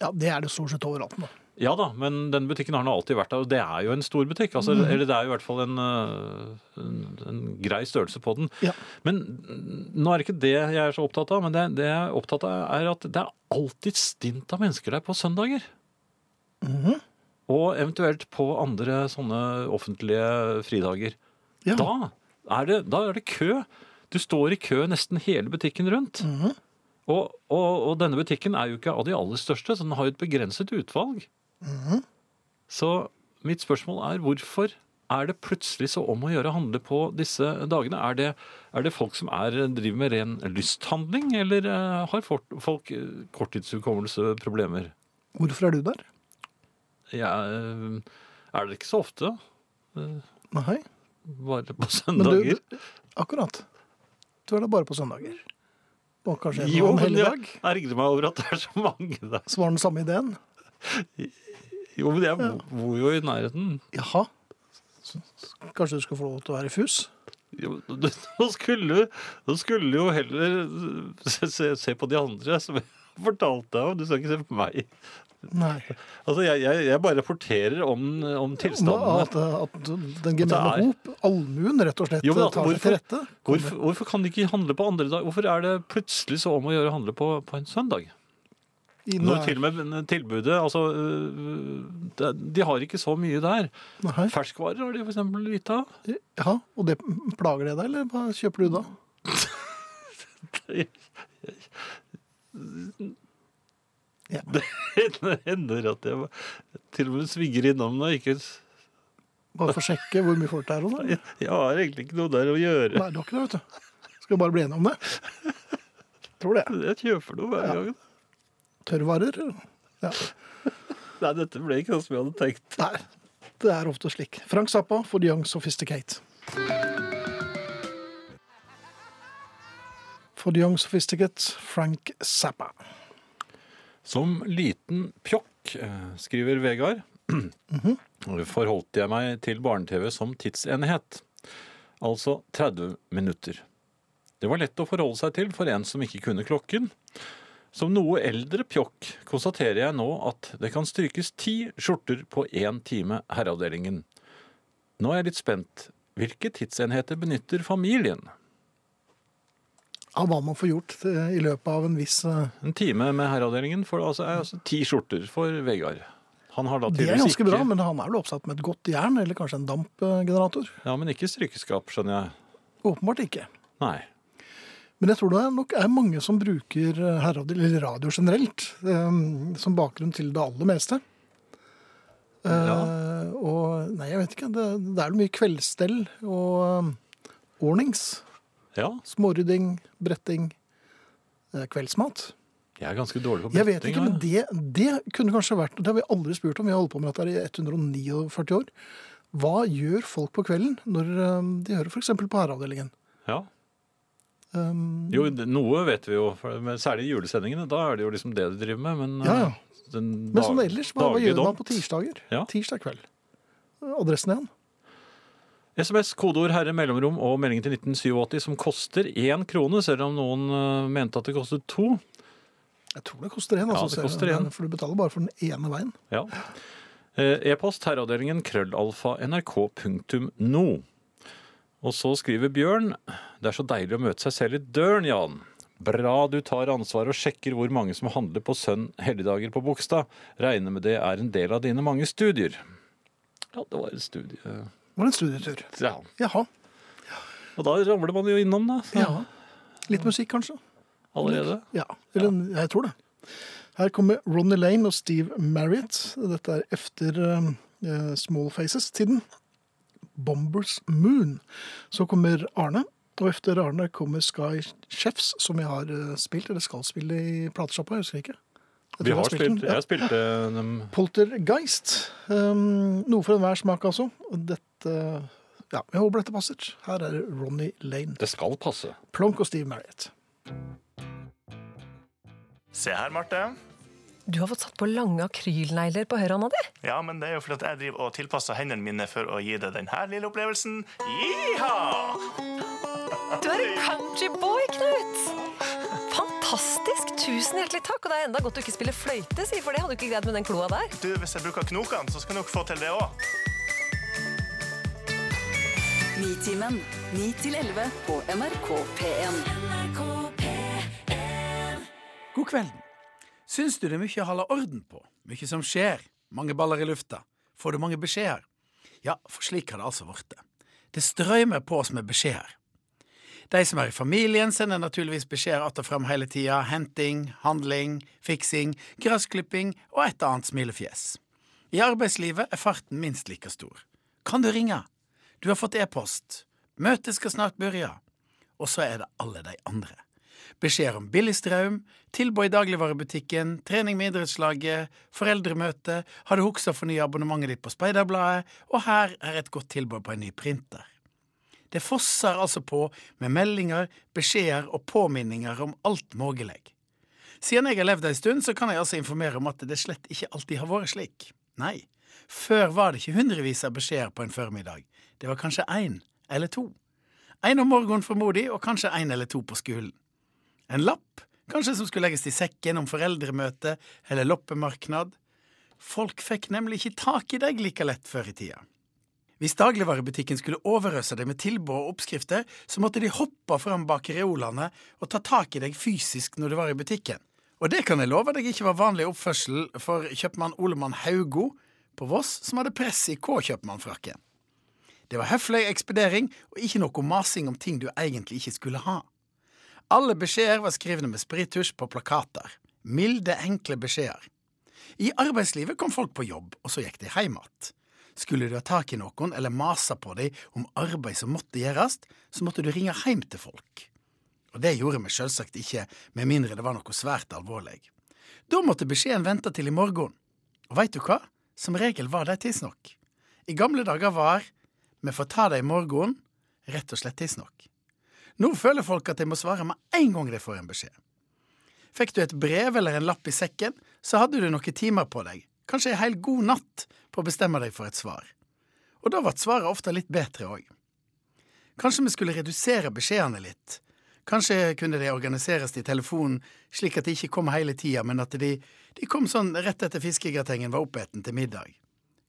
S1: ja, det er det stort sett overalt nå.
S2: Ja da, men den butikken har nå alltid vært der, og det er jo en stor butikk. Altså,
S1: Mhm.
S2: Eller det er jo i hvert fall en, øh, en, en grei størrelse på den.
S1: Ja.
S2: Men mm, nå er det ikke det jeg er så opptatt av, men det, det jeg er opptatt av er at det er alltid stint av mennesker der på søndager.
S1: Mhm.
S2: Og eventuelt på andre sånne offentlige fridager.
S1: Ja.
S2: Da, er det, da er det kø. Du står i kø nesten hele butikken rundt.
S1: Mhm.
S2: Og, og, og denne butikken er jo ikke av de aller største, så den har jo et begrenset utvalg. Så mitt spørsmål er hvorfor er det plutselig så om å gjøre å handle på disse dagene? Er det, er det folk som er, driver med ren lysthandling, eller eh, har folk, folk eh, korttidshukommelseproblemer?
S1: Hvorfor er du der?
S2: Jeg, eh, er det ikke så ofte?
S1: Nei,
S2: Bare på
S1: men du,
S2: søndager?
S1: akkurat. Du er der bare på søndager. Og kanskje en
S2: Jo,
S1: annen
S2: men
S1: helligdag.
S2: jeg ergrer meg over at det er så mange der.
S1: Så var den samme ideen.
S2: Jo, men jeg bo- bor jo i nærheten.
S1: Jaha. Så- så Kanskje du skal få lov til å være fus?
S2: Jo, du- Nå skulle, nå skulle du jo heller se, se, se på de andre, som jeg fortalte deg om. Du skal ikke se på meg.
S1: Nei.
S2: Altså, jeg, jeg, jeg bare rapporterer om, om tilstandene.
S1: At, at den gemene
S2: At
S1: hop, allmuen, rett og slett
S2: Jo, men at
S1: tar seg til rette?
S2: Hvorfor, hvorfor kan de ikke handle på andre dag? Hvorfor er det plutselig så om å gjøre å handle på, på en søndag?
S1: I
S2: Når
S1: nær-
S2: til og med tilbudet altså, øh, det- De har ikke så mye der.
S1: Nei.
S2: Ferskvarer har de for eksempel lite av.
S1: Ja, og det plager det deg, eller hva kjøper du da? Ja.
S2: Det hender at jeg til og med svinger innom når jeg ikke
S1: Bare for å sjekke hvor mye folk det er og sånn?
S2: Jeg har egentlig ikke noe der å gjøre.
S1: Nei, du har ikke det, vet du. Skal vi bare bli enige om det? Tror det.
S2: Jeg kjøper noe hver gang.
S1: Tørrvarer? Ja.
S2: Nei, dette ble ikke sånn som jeg hadde tenkt.
S1: Nei, det er ofte slik. Frank Zappa for The Young Sophisticate. For The Young Sophisticate, Frank Zappa.
S2: Som liten pjokk, eh, skriver Vegard,
S1: Mhm.
S2: forholdt jeg meg til barne-TV som tidsenhet. Altså 30 minutter. Det var lett å forholde seg til for en som ikke kunne klokken. Som noe eldre pjokk konstaterer jeg nå at det kan strykes ti skjorter på én time herreavdelingen. Nå er jeg litt spent. Hvilke tidsenheter benytter familien?
S1: Av hva man får gjort eh, i løpet av en viss eh,
S2: En time med herreavdelingen for altså, er altså ti skjorter for Vegard. Han har da
S1: Det er
S2: tydeligvis
S1: ganske
S2: ikke,
S1: bra, men han er vel oppsatt med et godt jern, eller kanskje en dampgenerator?
S2: ja, men ikke strykeskap, skjønner jeg.
S1: Åpenbart ikke.
S2: Nei.
S1: Men jeg tror det er nok er mange som bruker herreavdeling, eller radio generelt, eh, som bakgrunn til det aller meste. Eh,
S2: Ja.
S1: Og nei, jeg vet ikke. Det, det er jo mye kveldsstell og eh, ordnings.
S2: Ja,
S1: Smårydding, bretting, eh, kveldsmat.
S2: jeg er ganske dårlig på
S1: Jeg vet ikke, men
S2: jeg.
S1: det, det kunne kanskje vært Det har vi aldri spurt om. Vi har holdt på med dette her i 149 år. Hva gjør folk på kvelden når eh, de hører f.eks. på herreavdelingen?
S2: Ja.
S1: Um,
S2: Jo, det- noe vet vi jo, for, men særlig i julesendingene. Da er det jo liksom det de driver med. Men,
S1: Ja, ja.
S2: eh, Den
S1: Men sånn ellers, hva, hva gjør man på
S2: tirsdag?
S1: tirsdager?
S2: Ja.
S1: Tirsdag kveld. Adressen igjen.
S2: SMS, kodeord herre mellomrom og meldingen til 1987 som koster én krone, selv om noen eh, mente at det kostet to.
S1: Jeg tror det koster én. Altså,
S2: det
S1: ser jeg.
S2: koster en.
S1: Men- For du betaler bare for den ene veien.
S2: Ja. Eh, E-post herreavdelingen krøllalfa nrk.no. Og så skriver Bjørn Det er så deilig å møte seg selv i døren, Jan. Bra du tar ansvar og sjekker hvor mange som handler på sønn helligdager på Bogstad. Regner med det er en del av dine mange studier. Ja, det var en studie
S1: Var det en studietur?
S2: Ja.
S1: Jaha.
S2: Og da ramler man jo innom, da. så-
S1: Ja. Litt musikk, kanskje?
S2: Allerede.
S1: Ja. Eller en- jeg tror det. Her kommer Ronny Lane og Steve Marriott. Dette er efter eh, Small Faces-tiden. Bombers Moon. Så kommer Arne. Og efter Arne kommer Sky Chefs, som jeg har eh, spilt, eller skal spille i platesjappa. Jeg husker ikke. Jeg tror
S2: Vi
S1: jeg
S2: har
S1: spilt den,
S2: spilt Jeg spilte dem
S1: Poltergeist. Um, noe for enhver smak, altså. Og Dette Ja, jeg håper dette passer. Her er Ronny Lane.
S2: Det skal passe.
S1: Plonk og Steve Marriott.
S5: Se her, Marte.
S6: Du har fått satt på lange akrylnegler på høyrehånda di.
S5: Ja, men det er jo fordi at jeg driver og tilpasser hendene mine for å gi deg denne lille opplevelsen. Jiha!
S6: Du er en countryboy, Knut! Fantastisk! Tusen hjertelig takk. Og det er enda godt du ikke spiller fløyte, si, for det hadde du ikke greid med den kloa der.
S5: Du, Hvis jeg bruker knokene, så skal jeg nok få til det òg.
S7: Nitimen. 9 til 11 på NRK P1.
S8: God kvelden. Syns du det er mye å holde orden på? Mye som skjer? Mange baller i lufta? Får du mange beskjeder? Ja, for slik har det altså blitt. Det strømmer på oss med beskjeder. De som er i familien, sender naturligvis beskjeder att og fram hele tida. Henting, handling, fiksing, gressklipping og et og annet smilefjes. I arbeidslivet er farten minst like stor. Kan du ringe? Du har fått e-post. Møtet skal snart begynne. Og så er det alle de andre. Beskjeder om billig strøm, tilbud i dagligvarebutikken, trening med idrettslaget, foreldremøte, har du huksa fornye abonnementet ditt på Speiderbladet, og her er et godt tilbud på en ny printer. Det fosser altså på med meldinger, beskjeder og påminninger om alt mulig. Siden jeg har levd ei stund, så kan jeg altså informere om at det slett ikke alltid har vært slik. Nei, før var det ikke hundrevis av beskjeder på en formiddag. Det var kanskje én eller to. Én om morgenen formodig, og kanskje én eller to på skolen. En lapp, kanskje som skulle legges i sekken om foreldremøte eller loppemarknad. Folk fikk nemlig ikke tak i deg like lett før i tida. Hvis dagligvarebutikken skulle overøse deg med tilbud og oppskrifter, så måtte de hoppe fram bak reolene og ta tak i deg fysisk når du var i butikken. Og det kan jeg love deg ikke var vanlig oppførsel for kjøpmann Olemann Haugo på Voss, som hadde press i K-kjøpmannfrakken. Det var høflig ekspedering og ikke noe masing om ting du egentlig ikke skulle ha. Alle beskjeder var skrevne med sprittusj på plakater. Milde, enkle beskjeder. I arbeidslivet kom folk på jobb, og så gikk de hjem igjen. Skulle du ha tak i noen eller mase på dem om arbeid som måtte gjøres, så måtte du ringe hjem til folk. Og det gjorde vi selvsagt ikke, med mindre det var noe svært alvorlig. Da måtte beskjeden vente til i morgen. Og veit du hva? Som regel var de tidsnok. I gamle dager var vi får ta det i morgen rett og slett tidsnok. Nå føler folk at de må svare med en gang de får en beskjed. Fikk du et brev eller en lapp i sekken, så hadde du noen timer på deg, kanskje en hel god natt, på å bestemme deg for et svar. Og da ble svaret ofte litt bedre òg. Kanskje vi skulle redusere beskjedene litt. Kanskje kunne de organiseres i telefonen slik at de ikke kom hele tida, men at de, de kom sånn rett etter fiskegratengen var oppeten til middag.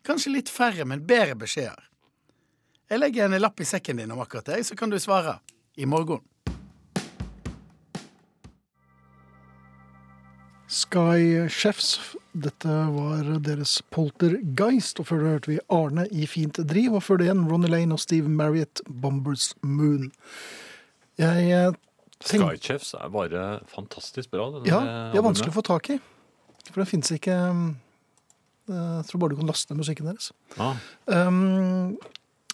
S8: Kanskje litt færre, men bedre beskjeder. Jeg legger en lapp i sekken din om akkurat deg, så kan du svare. I morgen.
S1: Sky Chefs. Dette var deres poltergeist. Og før det hørte vi Arne i Fint driv, og før det igjen Ronny Lane og Steve Marriott, Bombers Moon. Jeg eh, tenk-
S2: Skychefs er bare fantastisk bra. det
S1: Ja,
S2: der
S1: de er
S2: albumet.
S1: vanskelig å få tak i. For det fins ikke eh, Jeg tror bare du kan laste ned musikken deres.
S2: Ja.
S1: Um,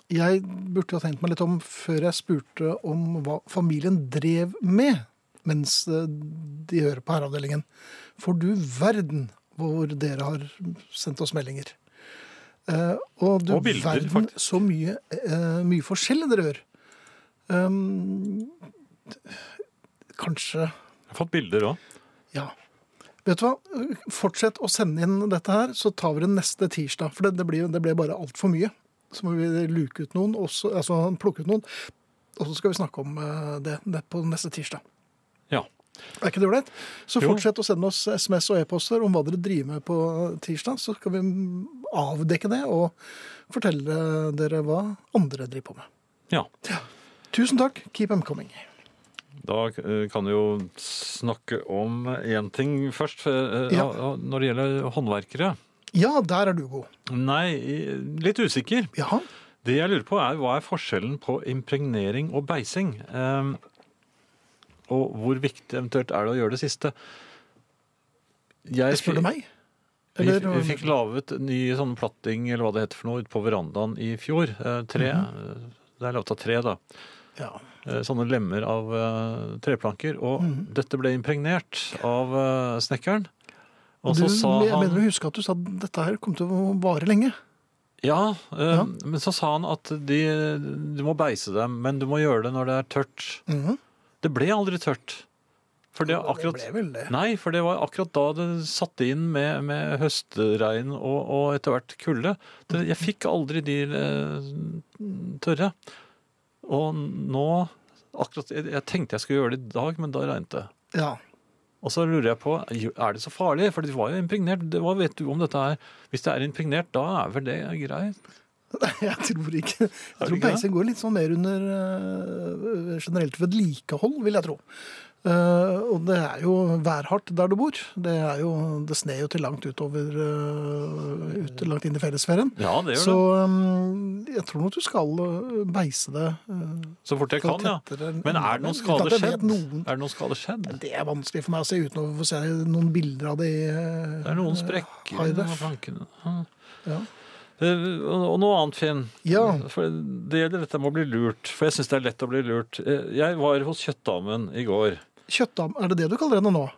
S1: jeg burde jo ha tenkt meg litt om før jeg spurte om hva familien drev med mens eh, de hører på herreavdelingen. For du verden hvor dere har sendt oss meldinger. Eh, og du
S2: Og bilder,
S1: verden
S2: faktisk.
S1: så mye, eh, mye forskjellig dere gjør. Um, kanskje
S2: Jeg har fått bilder òg.
S1: ja. Vet du hva? Fortsett å sende inn dette her, så tar vi det neste tirsdag. For det, det, blir, det ble bare altfor mye. Så må vi luke ut noen, og så- altså plukke ut noen. Og så skal vi snakke om eh, det, det på neste tirsdag.
S2: Ja.
S1: Er ikke det ålreit? Så
S2: Jo.
S1: fortsett å sende oss SMS og e-poster om hva dere driver med på tirsdag. Så skal vi avdekke det og fortelle dere hva andre driver på med.
S2: ja.
S1: Tusen takk. Keep them coming.
S2: Da eh, kan vi jo snakke om én ting først. eh,
S1: Ja.
S2: ja, Når det gjelder håndverkere.
S1: Ja, der er du god.
S2: Nei, i- litt usikker.
S1: Jaha.
S2: Det jeg lurer på er, hva er forskjellen på impregnering og beising? Ehm, og hvor viktig eventuelt er det å gjøre det siste? Jeg
S1: Spør du meg?
S2: Vi,
S1: Eller-
S2: vi fikk laget ny sånn platting, eller hva det heter for noe, ute på verandaen i fjor. Eh, tre.
S1: Mhm.
S2: eh, Det er laget av tre, da.
S1: Ja.
S2: Eh, Sånne lemmer av eh, treplanker. Og
S1: Mhm.
S2: dette ble impregnert av eh, snekkeren. Og
S1: du,
S2: så sa
S1: men-
S2: han
S1: Mener du å huske at du sa at dette her kom til å vare lenge?
S2: Ja, eh,
S1: Ja.
S2: men så sa han at de, du må beise dem, men du må gjøre det når det er tørt. Det ble aldri tørt. For Mhm. det, er akkurat,
S1: Det ble vel det.
S2: Nei, for det var akkurat da det satte inn med, med høstregn og, og etter hvert kulde. Det- Jeg fikk aldri de eh, tørre. Og nå akkurat, jeg, jeg tenkte jeg skulle gjøre det i dag, men da regnet det.
S1: Ja.
S2: Og så lurer jeg på, er det så farlig? For det var jo impregnert. Det, hva vet du om dette er? Hvis det er impregnert, da er vel det greit?
S1: Nei, jeg tror ikke Jeg tror
S2: ikke det?
S1: peisen går litt sånn mer under øh, generelt vedlikehold, vil jeg tro. Eh, og det er jo værhardt der du bor. Det, er jo, det sner jo til langt utover øh, ut, langt inn i fellesferien.
S2: Ja, det gjør
S1: Så
S2: det.
S1: øhm, jeg tror nok du skal øh, beise det. øh,
S2: Så fort jeg
S1: skal
S2: kan, ja.
S1: tettere enn-
S2: Men er det
S1: Uten
S2: noen
S1: at
S2: skade
S1: jeg vet
S2: skjedd?
S1: noen-
S2: Er det noen skade skjedd?
S1: Det er vanskelig for meg å se uten å få se noen bilder av det i øh,
S2: Det er noen sprekker
S1: High
S2: på
S1: def.
S2: plankene. Ja.
S1: Ja.
S2: Eh, Og og noe annet, Finn.
S1: Ja.
S2: For det gjelder dette med å bli lurt. For jeg syns det er lett å bli lurt. Eh, Jeg var hos Kjøttdamen i går.
S1: Kjøttdam, er det det du kaller henne nå?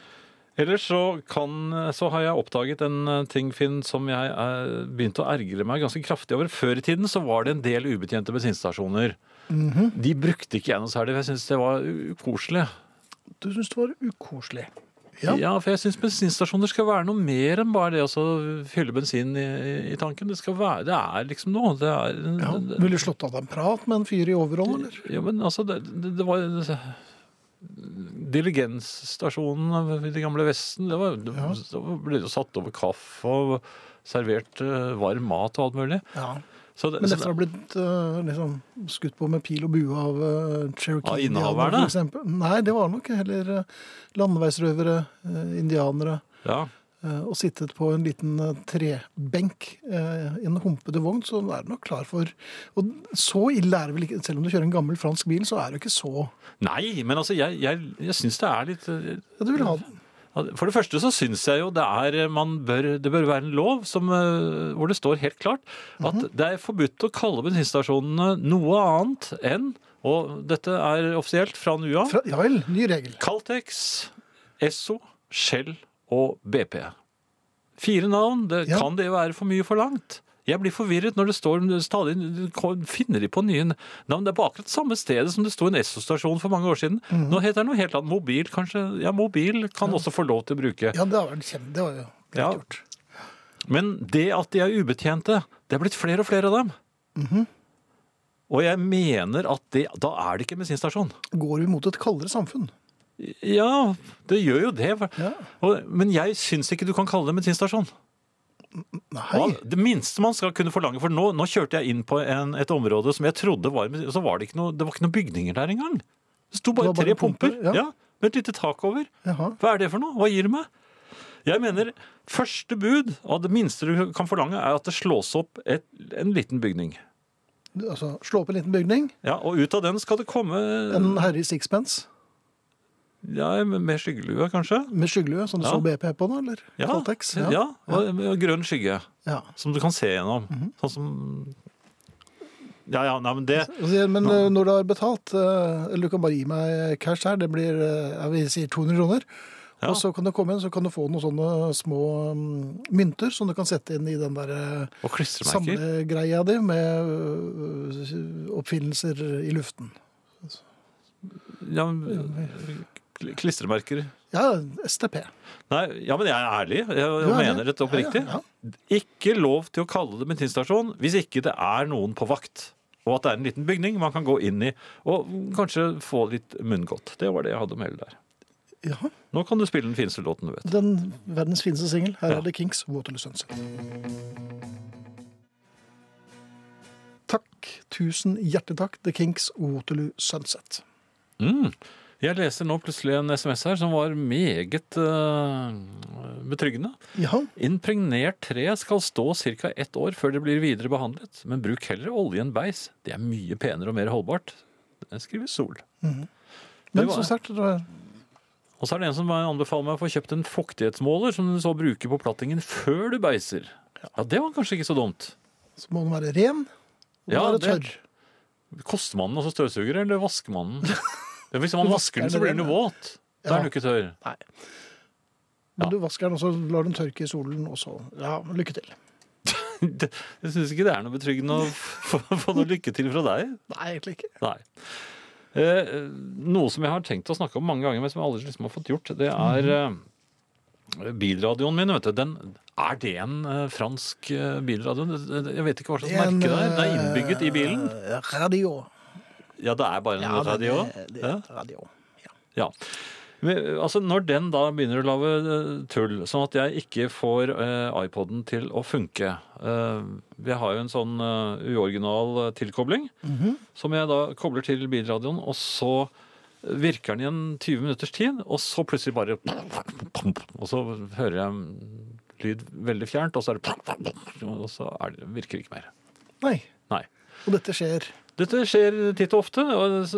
S2: Ellers så, kan, så har jeg oppdaget en eh, ting, Finn, som jeg eh, begynte å ergre meg ganske kraftig over. Før i tiden så var det en del ubetjente bensinstasjoner. De brukte ikke jeg noe særlig, for jeg syntes det var uh, u- ukoselig.
S1: Du syns det var ukoselig. Ja.
S2: Ja. for jeg syns bensinstasjoner skal være noe mer enn bare det å så fylle bensin i, i tanken. Det skal være, det er liksom noe. Det er,
S1: Ja.
S2: det-
S1: Ville du slått av deg en prat med en fyr i overhold, eller?
S2: Ja, men altså, det, det, det var Diligensstasjonen i det gamle Vesten, det var, det, det ble jo satt over kaffe og servert eh, varm mat og alt mulig.
S1: Ja.
S2: Så det,
S1: Men
S2: så
S1: dette har blitt eh, liksom, skutt på med pil og bue av eh,
S2: Av
S1: Cherokee
S2: innehaverne?
S1: indianere, for eksempel. Nei, det var nok heller eh, landeveisrøvere, eh, indianere.
S2: det- ja.
S1: eh, og sittet på en liten eh, trebenk eh, i en humpete vogn, så er du nok klar for Og så ille er det vel ikke, selv om du kjører en gammel fransk bil, så er det jo ikke så
S2: Nei, men altså, jeg, jeg, jeg syns det er litt eh,
S1: Ja, du vil ha den.
S2: For det første så syns jeg jo det er eh, man bør, Det bør være en lov som, eh, hvor det står helt klart at
S1: Mhm.
S2: det er forbudt å kalle bensinstasjonene noe annet enn Og dette er offisielt fra nå av.
S1: Fra, ja vel, ny regel.
S2: Caltex, Esso, Shell og BP. Fire navn. Det,
S1: Ja.
S2: Kan det være for mye forlangt? Jeg blir forvirret når det står stadig Finner de på nye navn? Det er på akkurat samme stedet som det sto en Esso-stasjon for mange år siden.
S1: Mhm.
S2: Nå heter det noe helt annet. Mobil, kanskje. Ja, mobil kan også få lov til å bruke.
S1: Ja, det var, kjem- det var jo greit
S2: Ja.
S1: gjort.
S2: Men det at de er ubetjente, det er blitt flere og flere av dem.
S1: Mhm.
S2: Og jeg mener at det, da er det ikke en bensinstasjon.
S1: Går vi mot et kaldere samfunn?
S2: Ja, det gjør jo det.
S1: Ja.
S2: Og, men jeg syns ikke du kan kalle det en bensinstasjon.
S1: Nei.
S2: Ja, Det minste man skal kunne forlange, for nå, nå kjørte jeg inn på en, et område som jeg trodde var og Så var det ikke noe, det var ikke noen bygninger der engang. Det sto bare,
S1: Det var bare
S2: tre pumper.
S1: pumper, ja.
S2: ja, Med et lite tak over.
S1: Jaha.
S2: Hva er det for noe? Hva gir det meg? Jeg mener, første bud av det minste du kan forlange, er at det slås opp et, en liten bygning.
S1: Du, Altså, slå opp en liten bygning.
S2: Ja, Og ut av den skal det komme
S1: En herre i sixpence
S2: ja, med skyggelue, kanskje.
S1: med skyggelue, som du
S2: Ja.
S1: så BP på nå, eller?
S2: Ja,
S1: Caltex,
S2: ja. og, og grønn skygge.
S1: Ja.
S2: Som du kan se gjennom.
S1: Mhm.
S2: Sånn som Ja, ja, nei, men det
S1: Og sier, Men eh, når du har betalt, eh, eller du kan bare gi meg cash her, det blir eh, ja, vi sier 200 kroner.
S2: Ja.
S1: Og så kan du komme inn, så kan du få noen sånne små mm, mynter som du kan sette inn i den der eh,
S2: Og klistremerker.
S1: samlegreia di med øh, oppfinnelser i luften.
S2: Ja, men, kl- klistremerker.
S1: Ja, STP.
S2: Nei, ja, men jeg er ærlig. Jeg, jeg
S1: ærlig.
S2: mener dette oppriktig.
S1: Ja,
S2: Ikke lov til å kalle det bensinstasjon hvis ikke det er noen på vakt. Og at det er en liten bygning man kan gå inn i og kanskje få litt munngodt. Det var det jeg hadde å melde der.
S1: Ja,
S2: Nå kan du spille den fineste låten du vet.
S1: Den verdens fineste singel. Her er det Kings Waterloo Sunset. Takk. Tusen hjertelig takk. The Kings Waterloo Sunset.
S2: Mm. Jeg leser nå plutselig en SMS her som var meget eh, betryggende.
S1: Ja,
S2: Impregnert tre skal stå ca. ett år før det blir videre behandlet, men bruk heller olje enn beis. Det er mye penere og mer holdbart. Den skriver Sol.
S1: Mhm. men
S2: Det var-
S1: så sterkt. det var-
S2: Og så er det en som anbefaler meg å få kjøpt en fuktighetsmåler som du så bruker på plattingen før du beiser. Ja, det var kanskje ikke så dumt.
S1: Så må den være ren. Og
S2: Ja,
S1: være
S2: det-
S1: tørr.
S2: Koster man den også støvsuger, eller vasker man den? Ja, Hvis man
S1: Du vasker
S2: vasker den, så
S1: den
S2: blir den
S1: ren,
S2: jo våt. Da
S1: Ja.
S2: er den jo ikke tørr.
S1: Men
S2: Ja.
S1: du vasker den, og så lar den tørke i solen også. Ja, lykke til.
S2: Det- Jeg syns ikke det er noe betryggende å få få noe lykke til fra deg.
S1: Nei, egentlig ikke.
S2: Nei. Eh, noe som jeg har tenkt å snakke om mange ganger, men som jeg aldri liksom har fått gjort, det er eh, bilradioen min. vet du. Den, er det en eh, fransk eh, bilradio? Jeg vet ikke hva slags merke det er. Det er innbygget i bilen.
S1: eh, Radio.
S2: Ja, det er bare en
S1: Ja, det-
S2: radio.
S1: det- det er
S2: Ja.
S1: et radio.
S2: Ja. Men, altså, når den da begynner å lage eh, tull, sånn at jeg ikke får eh, iPoden til å funke eh, Jeg har jo en sånn eh, uoriginal eh, tilkobling som jeg da kobler til bilradioen, og så virker den i en 20 minutters tid, og så plutselig bare Og så hører jeg lyd veldig fjernt, og så, er det, og så er det, virker det ikke mer.
S1: Nei.
S2: Nei.
S1: Og dette skjer.
S2: Dette skjer titt og ofte, og så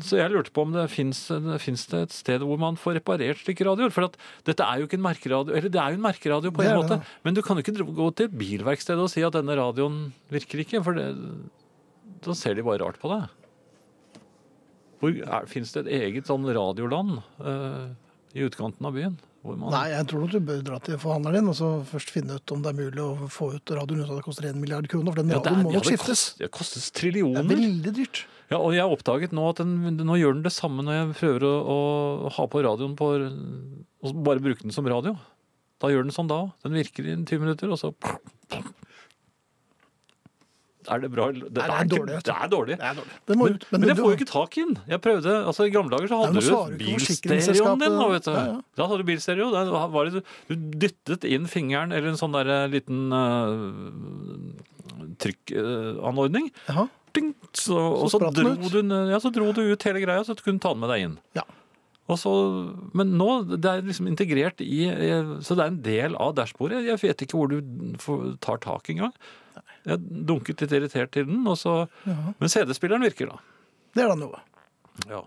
S2: så jeg lurte på om det fins det et sted hvor man får reparert stykker radioer. For at dette er jo ikke en merkeradio, eller det er jo en merkeradio på
S1: Det
S2: en
S1: er det,
S2: måte, men du kan jo ikke dra- gå til bilverkstedet og si at denne radioen virker ikke, for det, da ser de bare rart på deg. Fins det et eget sånn radioland eh, i utkanten av byen? Hvor man,
S1: Nei, jeg tror nok du bør dra til forhandleren din og så først finne ut om det er mulig å få ut radioen uten at det koster 1 milliard kroner. For den
S2: Ja, det,
S1: radioen
S2: er,
S1: må
S2: ja,
S1: nok
S2: det,
S1: skiftes.
S2: kost, det kostes
S1: Det er
S2: trillioner.
S1: veldig dyrt.
S2: Ja, og jeg har oppdaget nå at den, nå gjør den det samme når jeg prøver å, å ha på radioen på, og bare bruke den som radio. Da gjør den sånn da òg. Den virker i 20 minutter, og så Er det bra? eller- Det,
S1: Nei, det er
S2: ikke-
S1: dårlig, vet du.
S2: Det er dårlig.
S1: Det må
S2: Men,
S1: ut.
S2: men, jeg
S1: du-
S2: får jo ikke tak i den. Jeg prøvde, altså I gamle dager så
S1: Nei,
S2: hadde
S1: men
S2: du
S1: svarer
S2: jo
S1: ikke
S2: bilstereoen din. Da,
S1: forsikringsselskapet.
S2: vet du.
S1: Ja, ja.
S2: da hadde du bilstereo. Der var det, du dyttet inn fingeren eller en sånn der eh, liten eh, trykkanordning.
S1: Jaha.
S2: Ding, så, og så
S1: spratt
S2: dro,
S1: den ut.
S2: du, ned- ja, så dro du ut hele greia, så du kunne ta den med deg inn.
S1: Ja.
S2: Og så, men nå det er liksom integrert i eh, Så det er en del av dashbordet. Jeg vet ikke hvor du får- tar tak engang. Jeg dunket litt irritert til den, og så, men CD-spilleren virker, da.
S1: Det er da noe.
S2: Ja.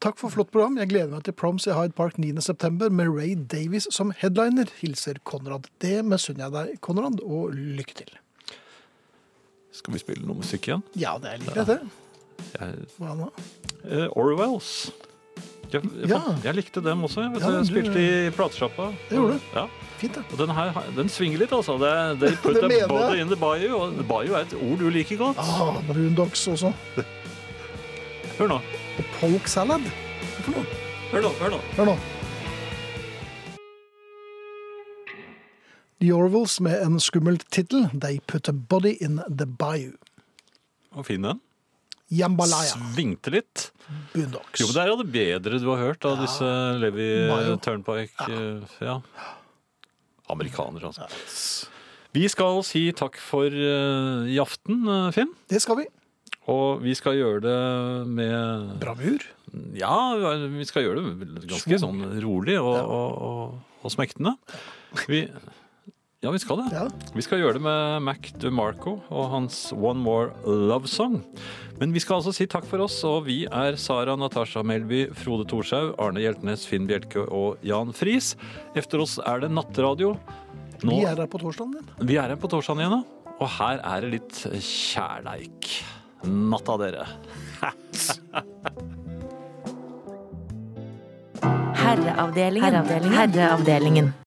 S1: Takk for flott program. Jeg gleder meg til Proms i Hyde Park 9.9. med Ray Davies som headliner. Hilser Konrad. Det misunner jeg deg, Konrad, og lykke til.
S2: Skal vi spille noe musikk igjen?
S1: Ja, det er litt greit, det.
S2: Jeg,
S1: Hva da?
S2: eh, Orwells. Jeg, jeg,
S1: Ja.
S2: fant- jeg likte dem også. Jeg, vet,
S1: Ja,
S2: du. jeg
S1: du-
S2: spilte i platesjappa.
S1: Det gjorde du.
S2: Ja.
S1: Fint, det.
S2: Og den her, den svinger litt, altså. Det, they put
S1: Det
S2: a
S1: mener jeg.
S2: body in the bayou. Og bayou er et ord du liker godt.
S1: Ah, Brun Dogs også.
S2: Hør nå.
S1: Og Polk Salad. Hva for noe?
S2: Hør nå, hør nå.
S1: Hør nå. The Orwells med en skummel tittel. They put a body in the bayou.
S2: Og fin den.
S1: Jambalaya.
S2: Svingte litt.
S1: Boondocks.
S2: Jo, men det er jo det bedre du har hørt av disse Levi
S1: Bayou.
S2: Turnpike eh, ja. Amerikanere, altså. Vi skal si takk for eh, i aften, eh, Finn.
S1: Det skal vi.
S2: Og vi skal gjøre det med
S1: Bravur.
S2: Ja, vi skal gjøre det ganske sånn rolig og, og, og, og smektende. Vi, ja, vi skal det.
S1: Ja.
S2: Vi skal gjøre det med Mac DeMarco og hans One More Love Song. Men vi skal altså si takk for oss, og vi er Sara Natasha Melby, Frode Thorshaug, Arne Hjeltnes, Finn Bjelke og Jan Friis. Efter oss er det nattradio. Nå,
S1: Vi er her på torsdagen din.
S2: vi er her på torsdagen igjen, da. Og her er det litt kjærleik. Natta, dere.
S9: Herreavdelingen. Herreavdelingen.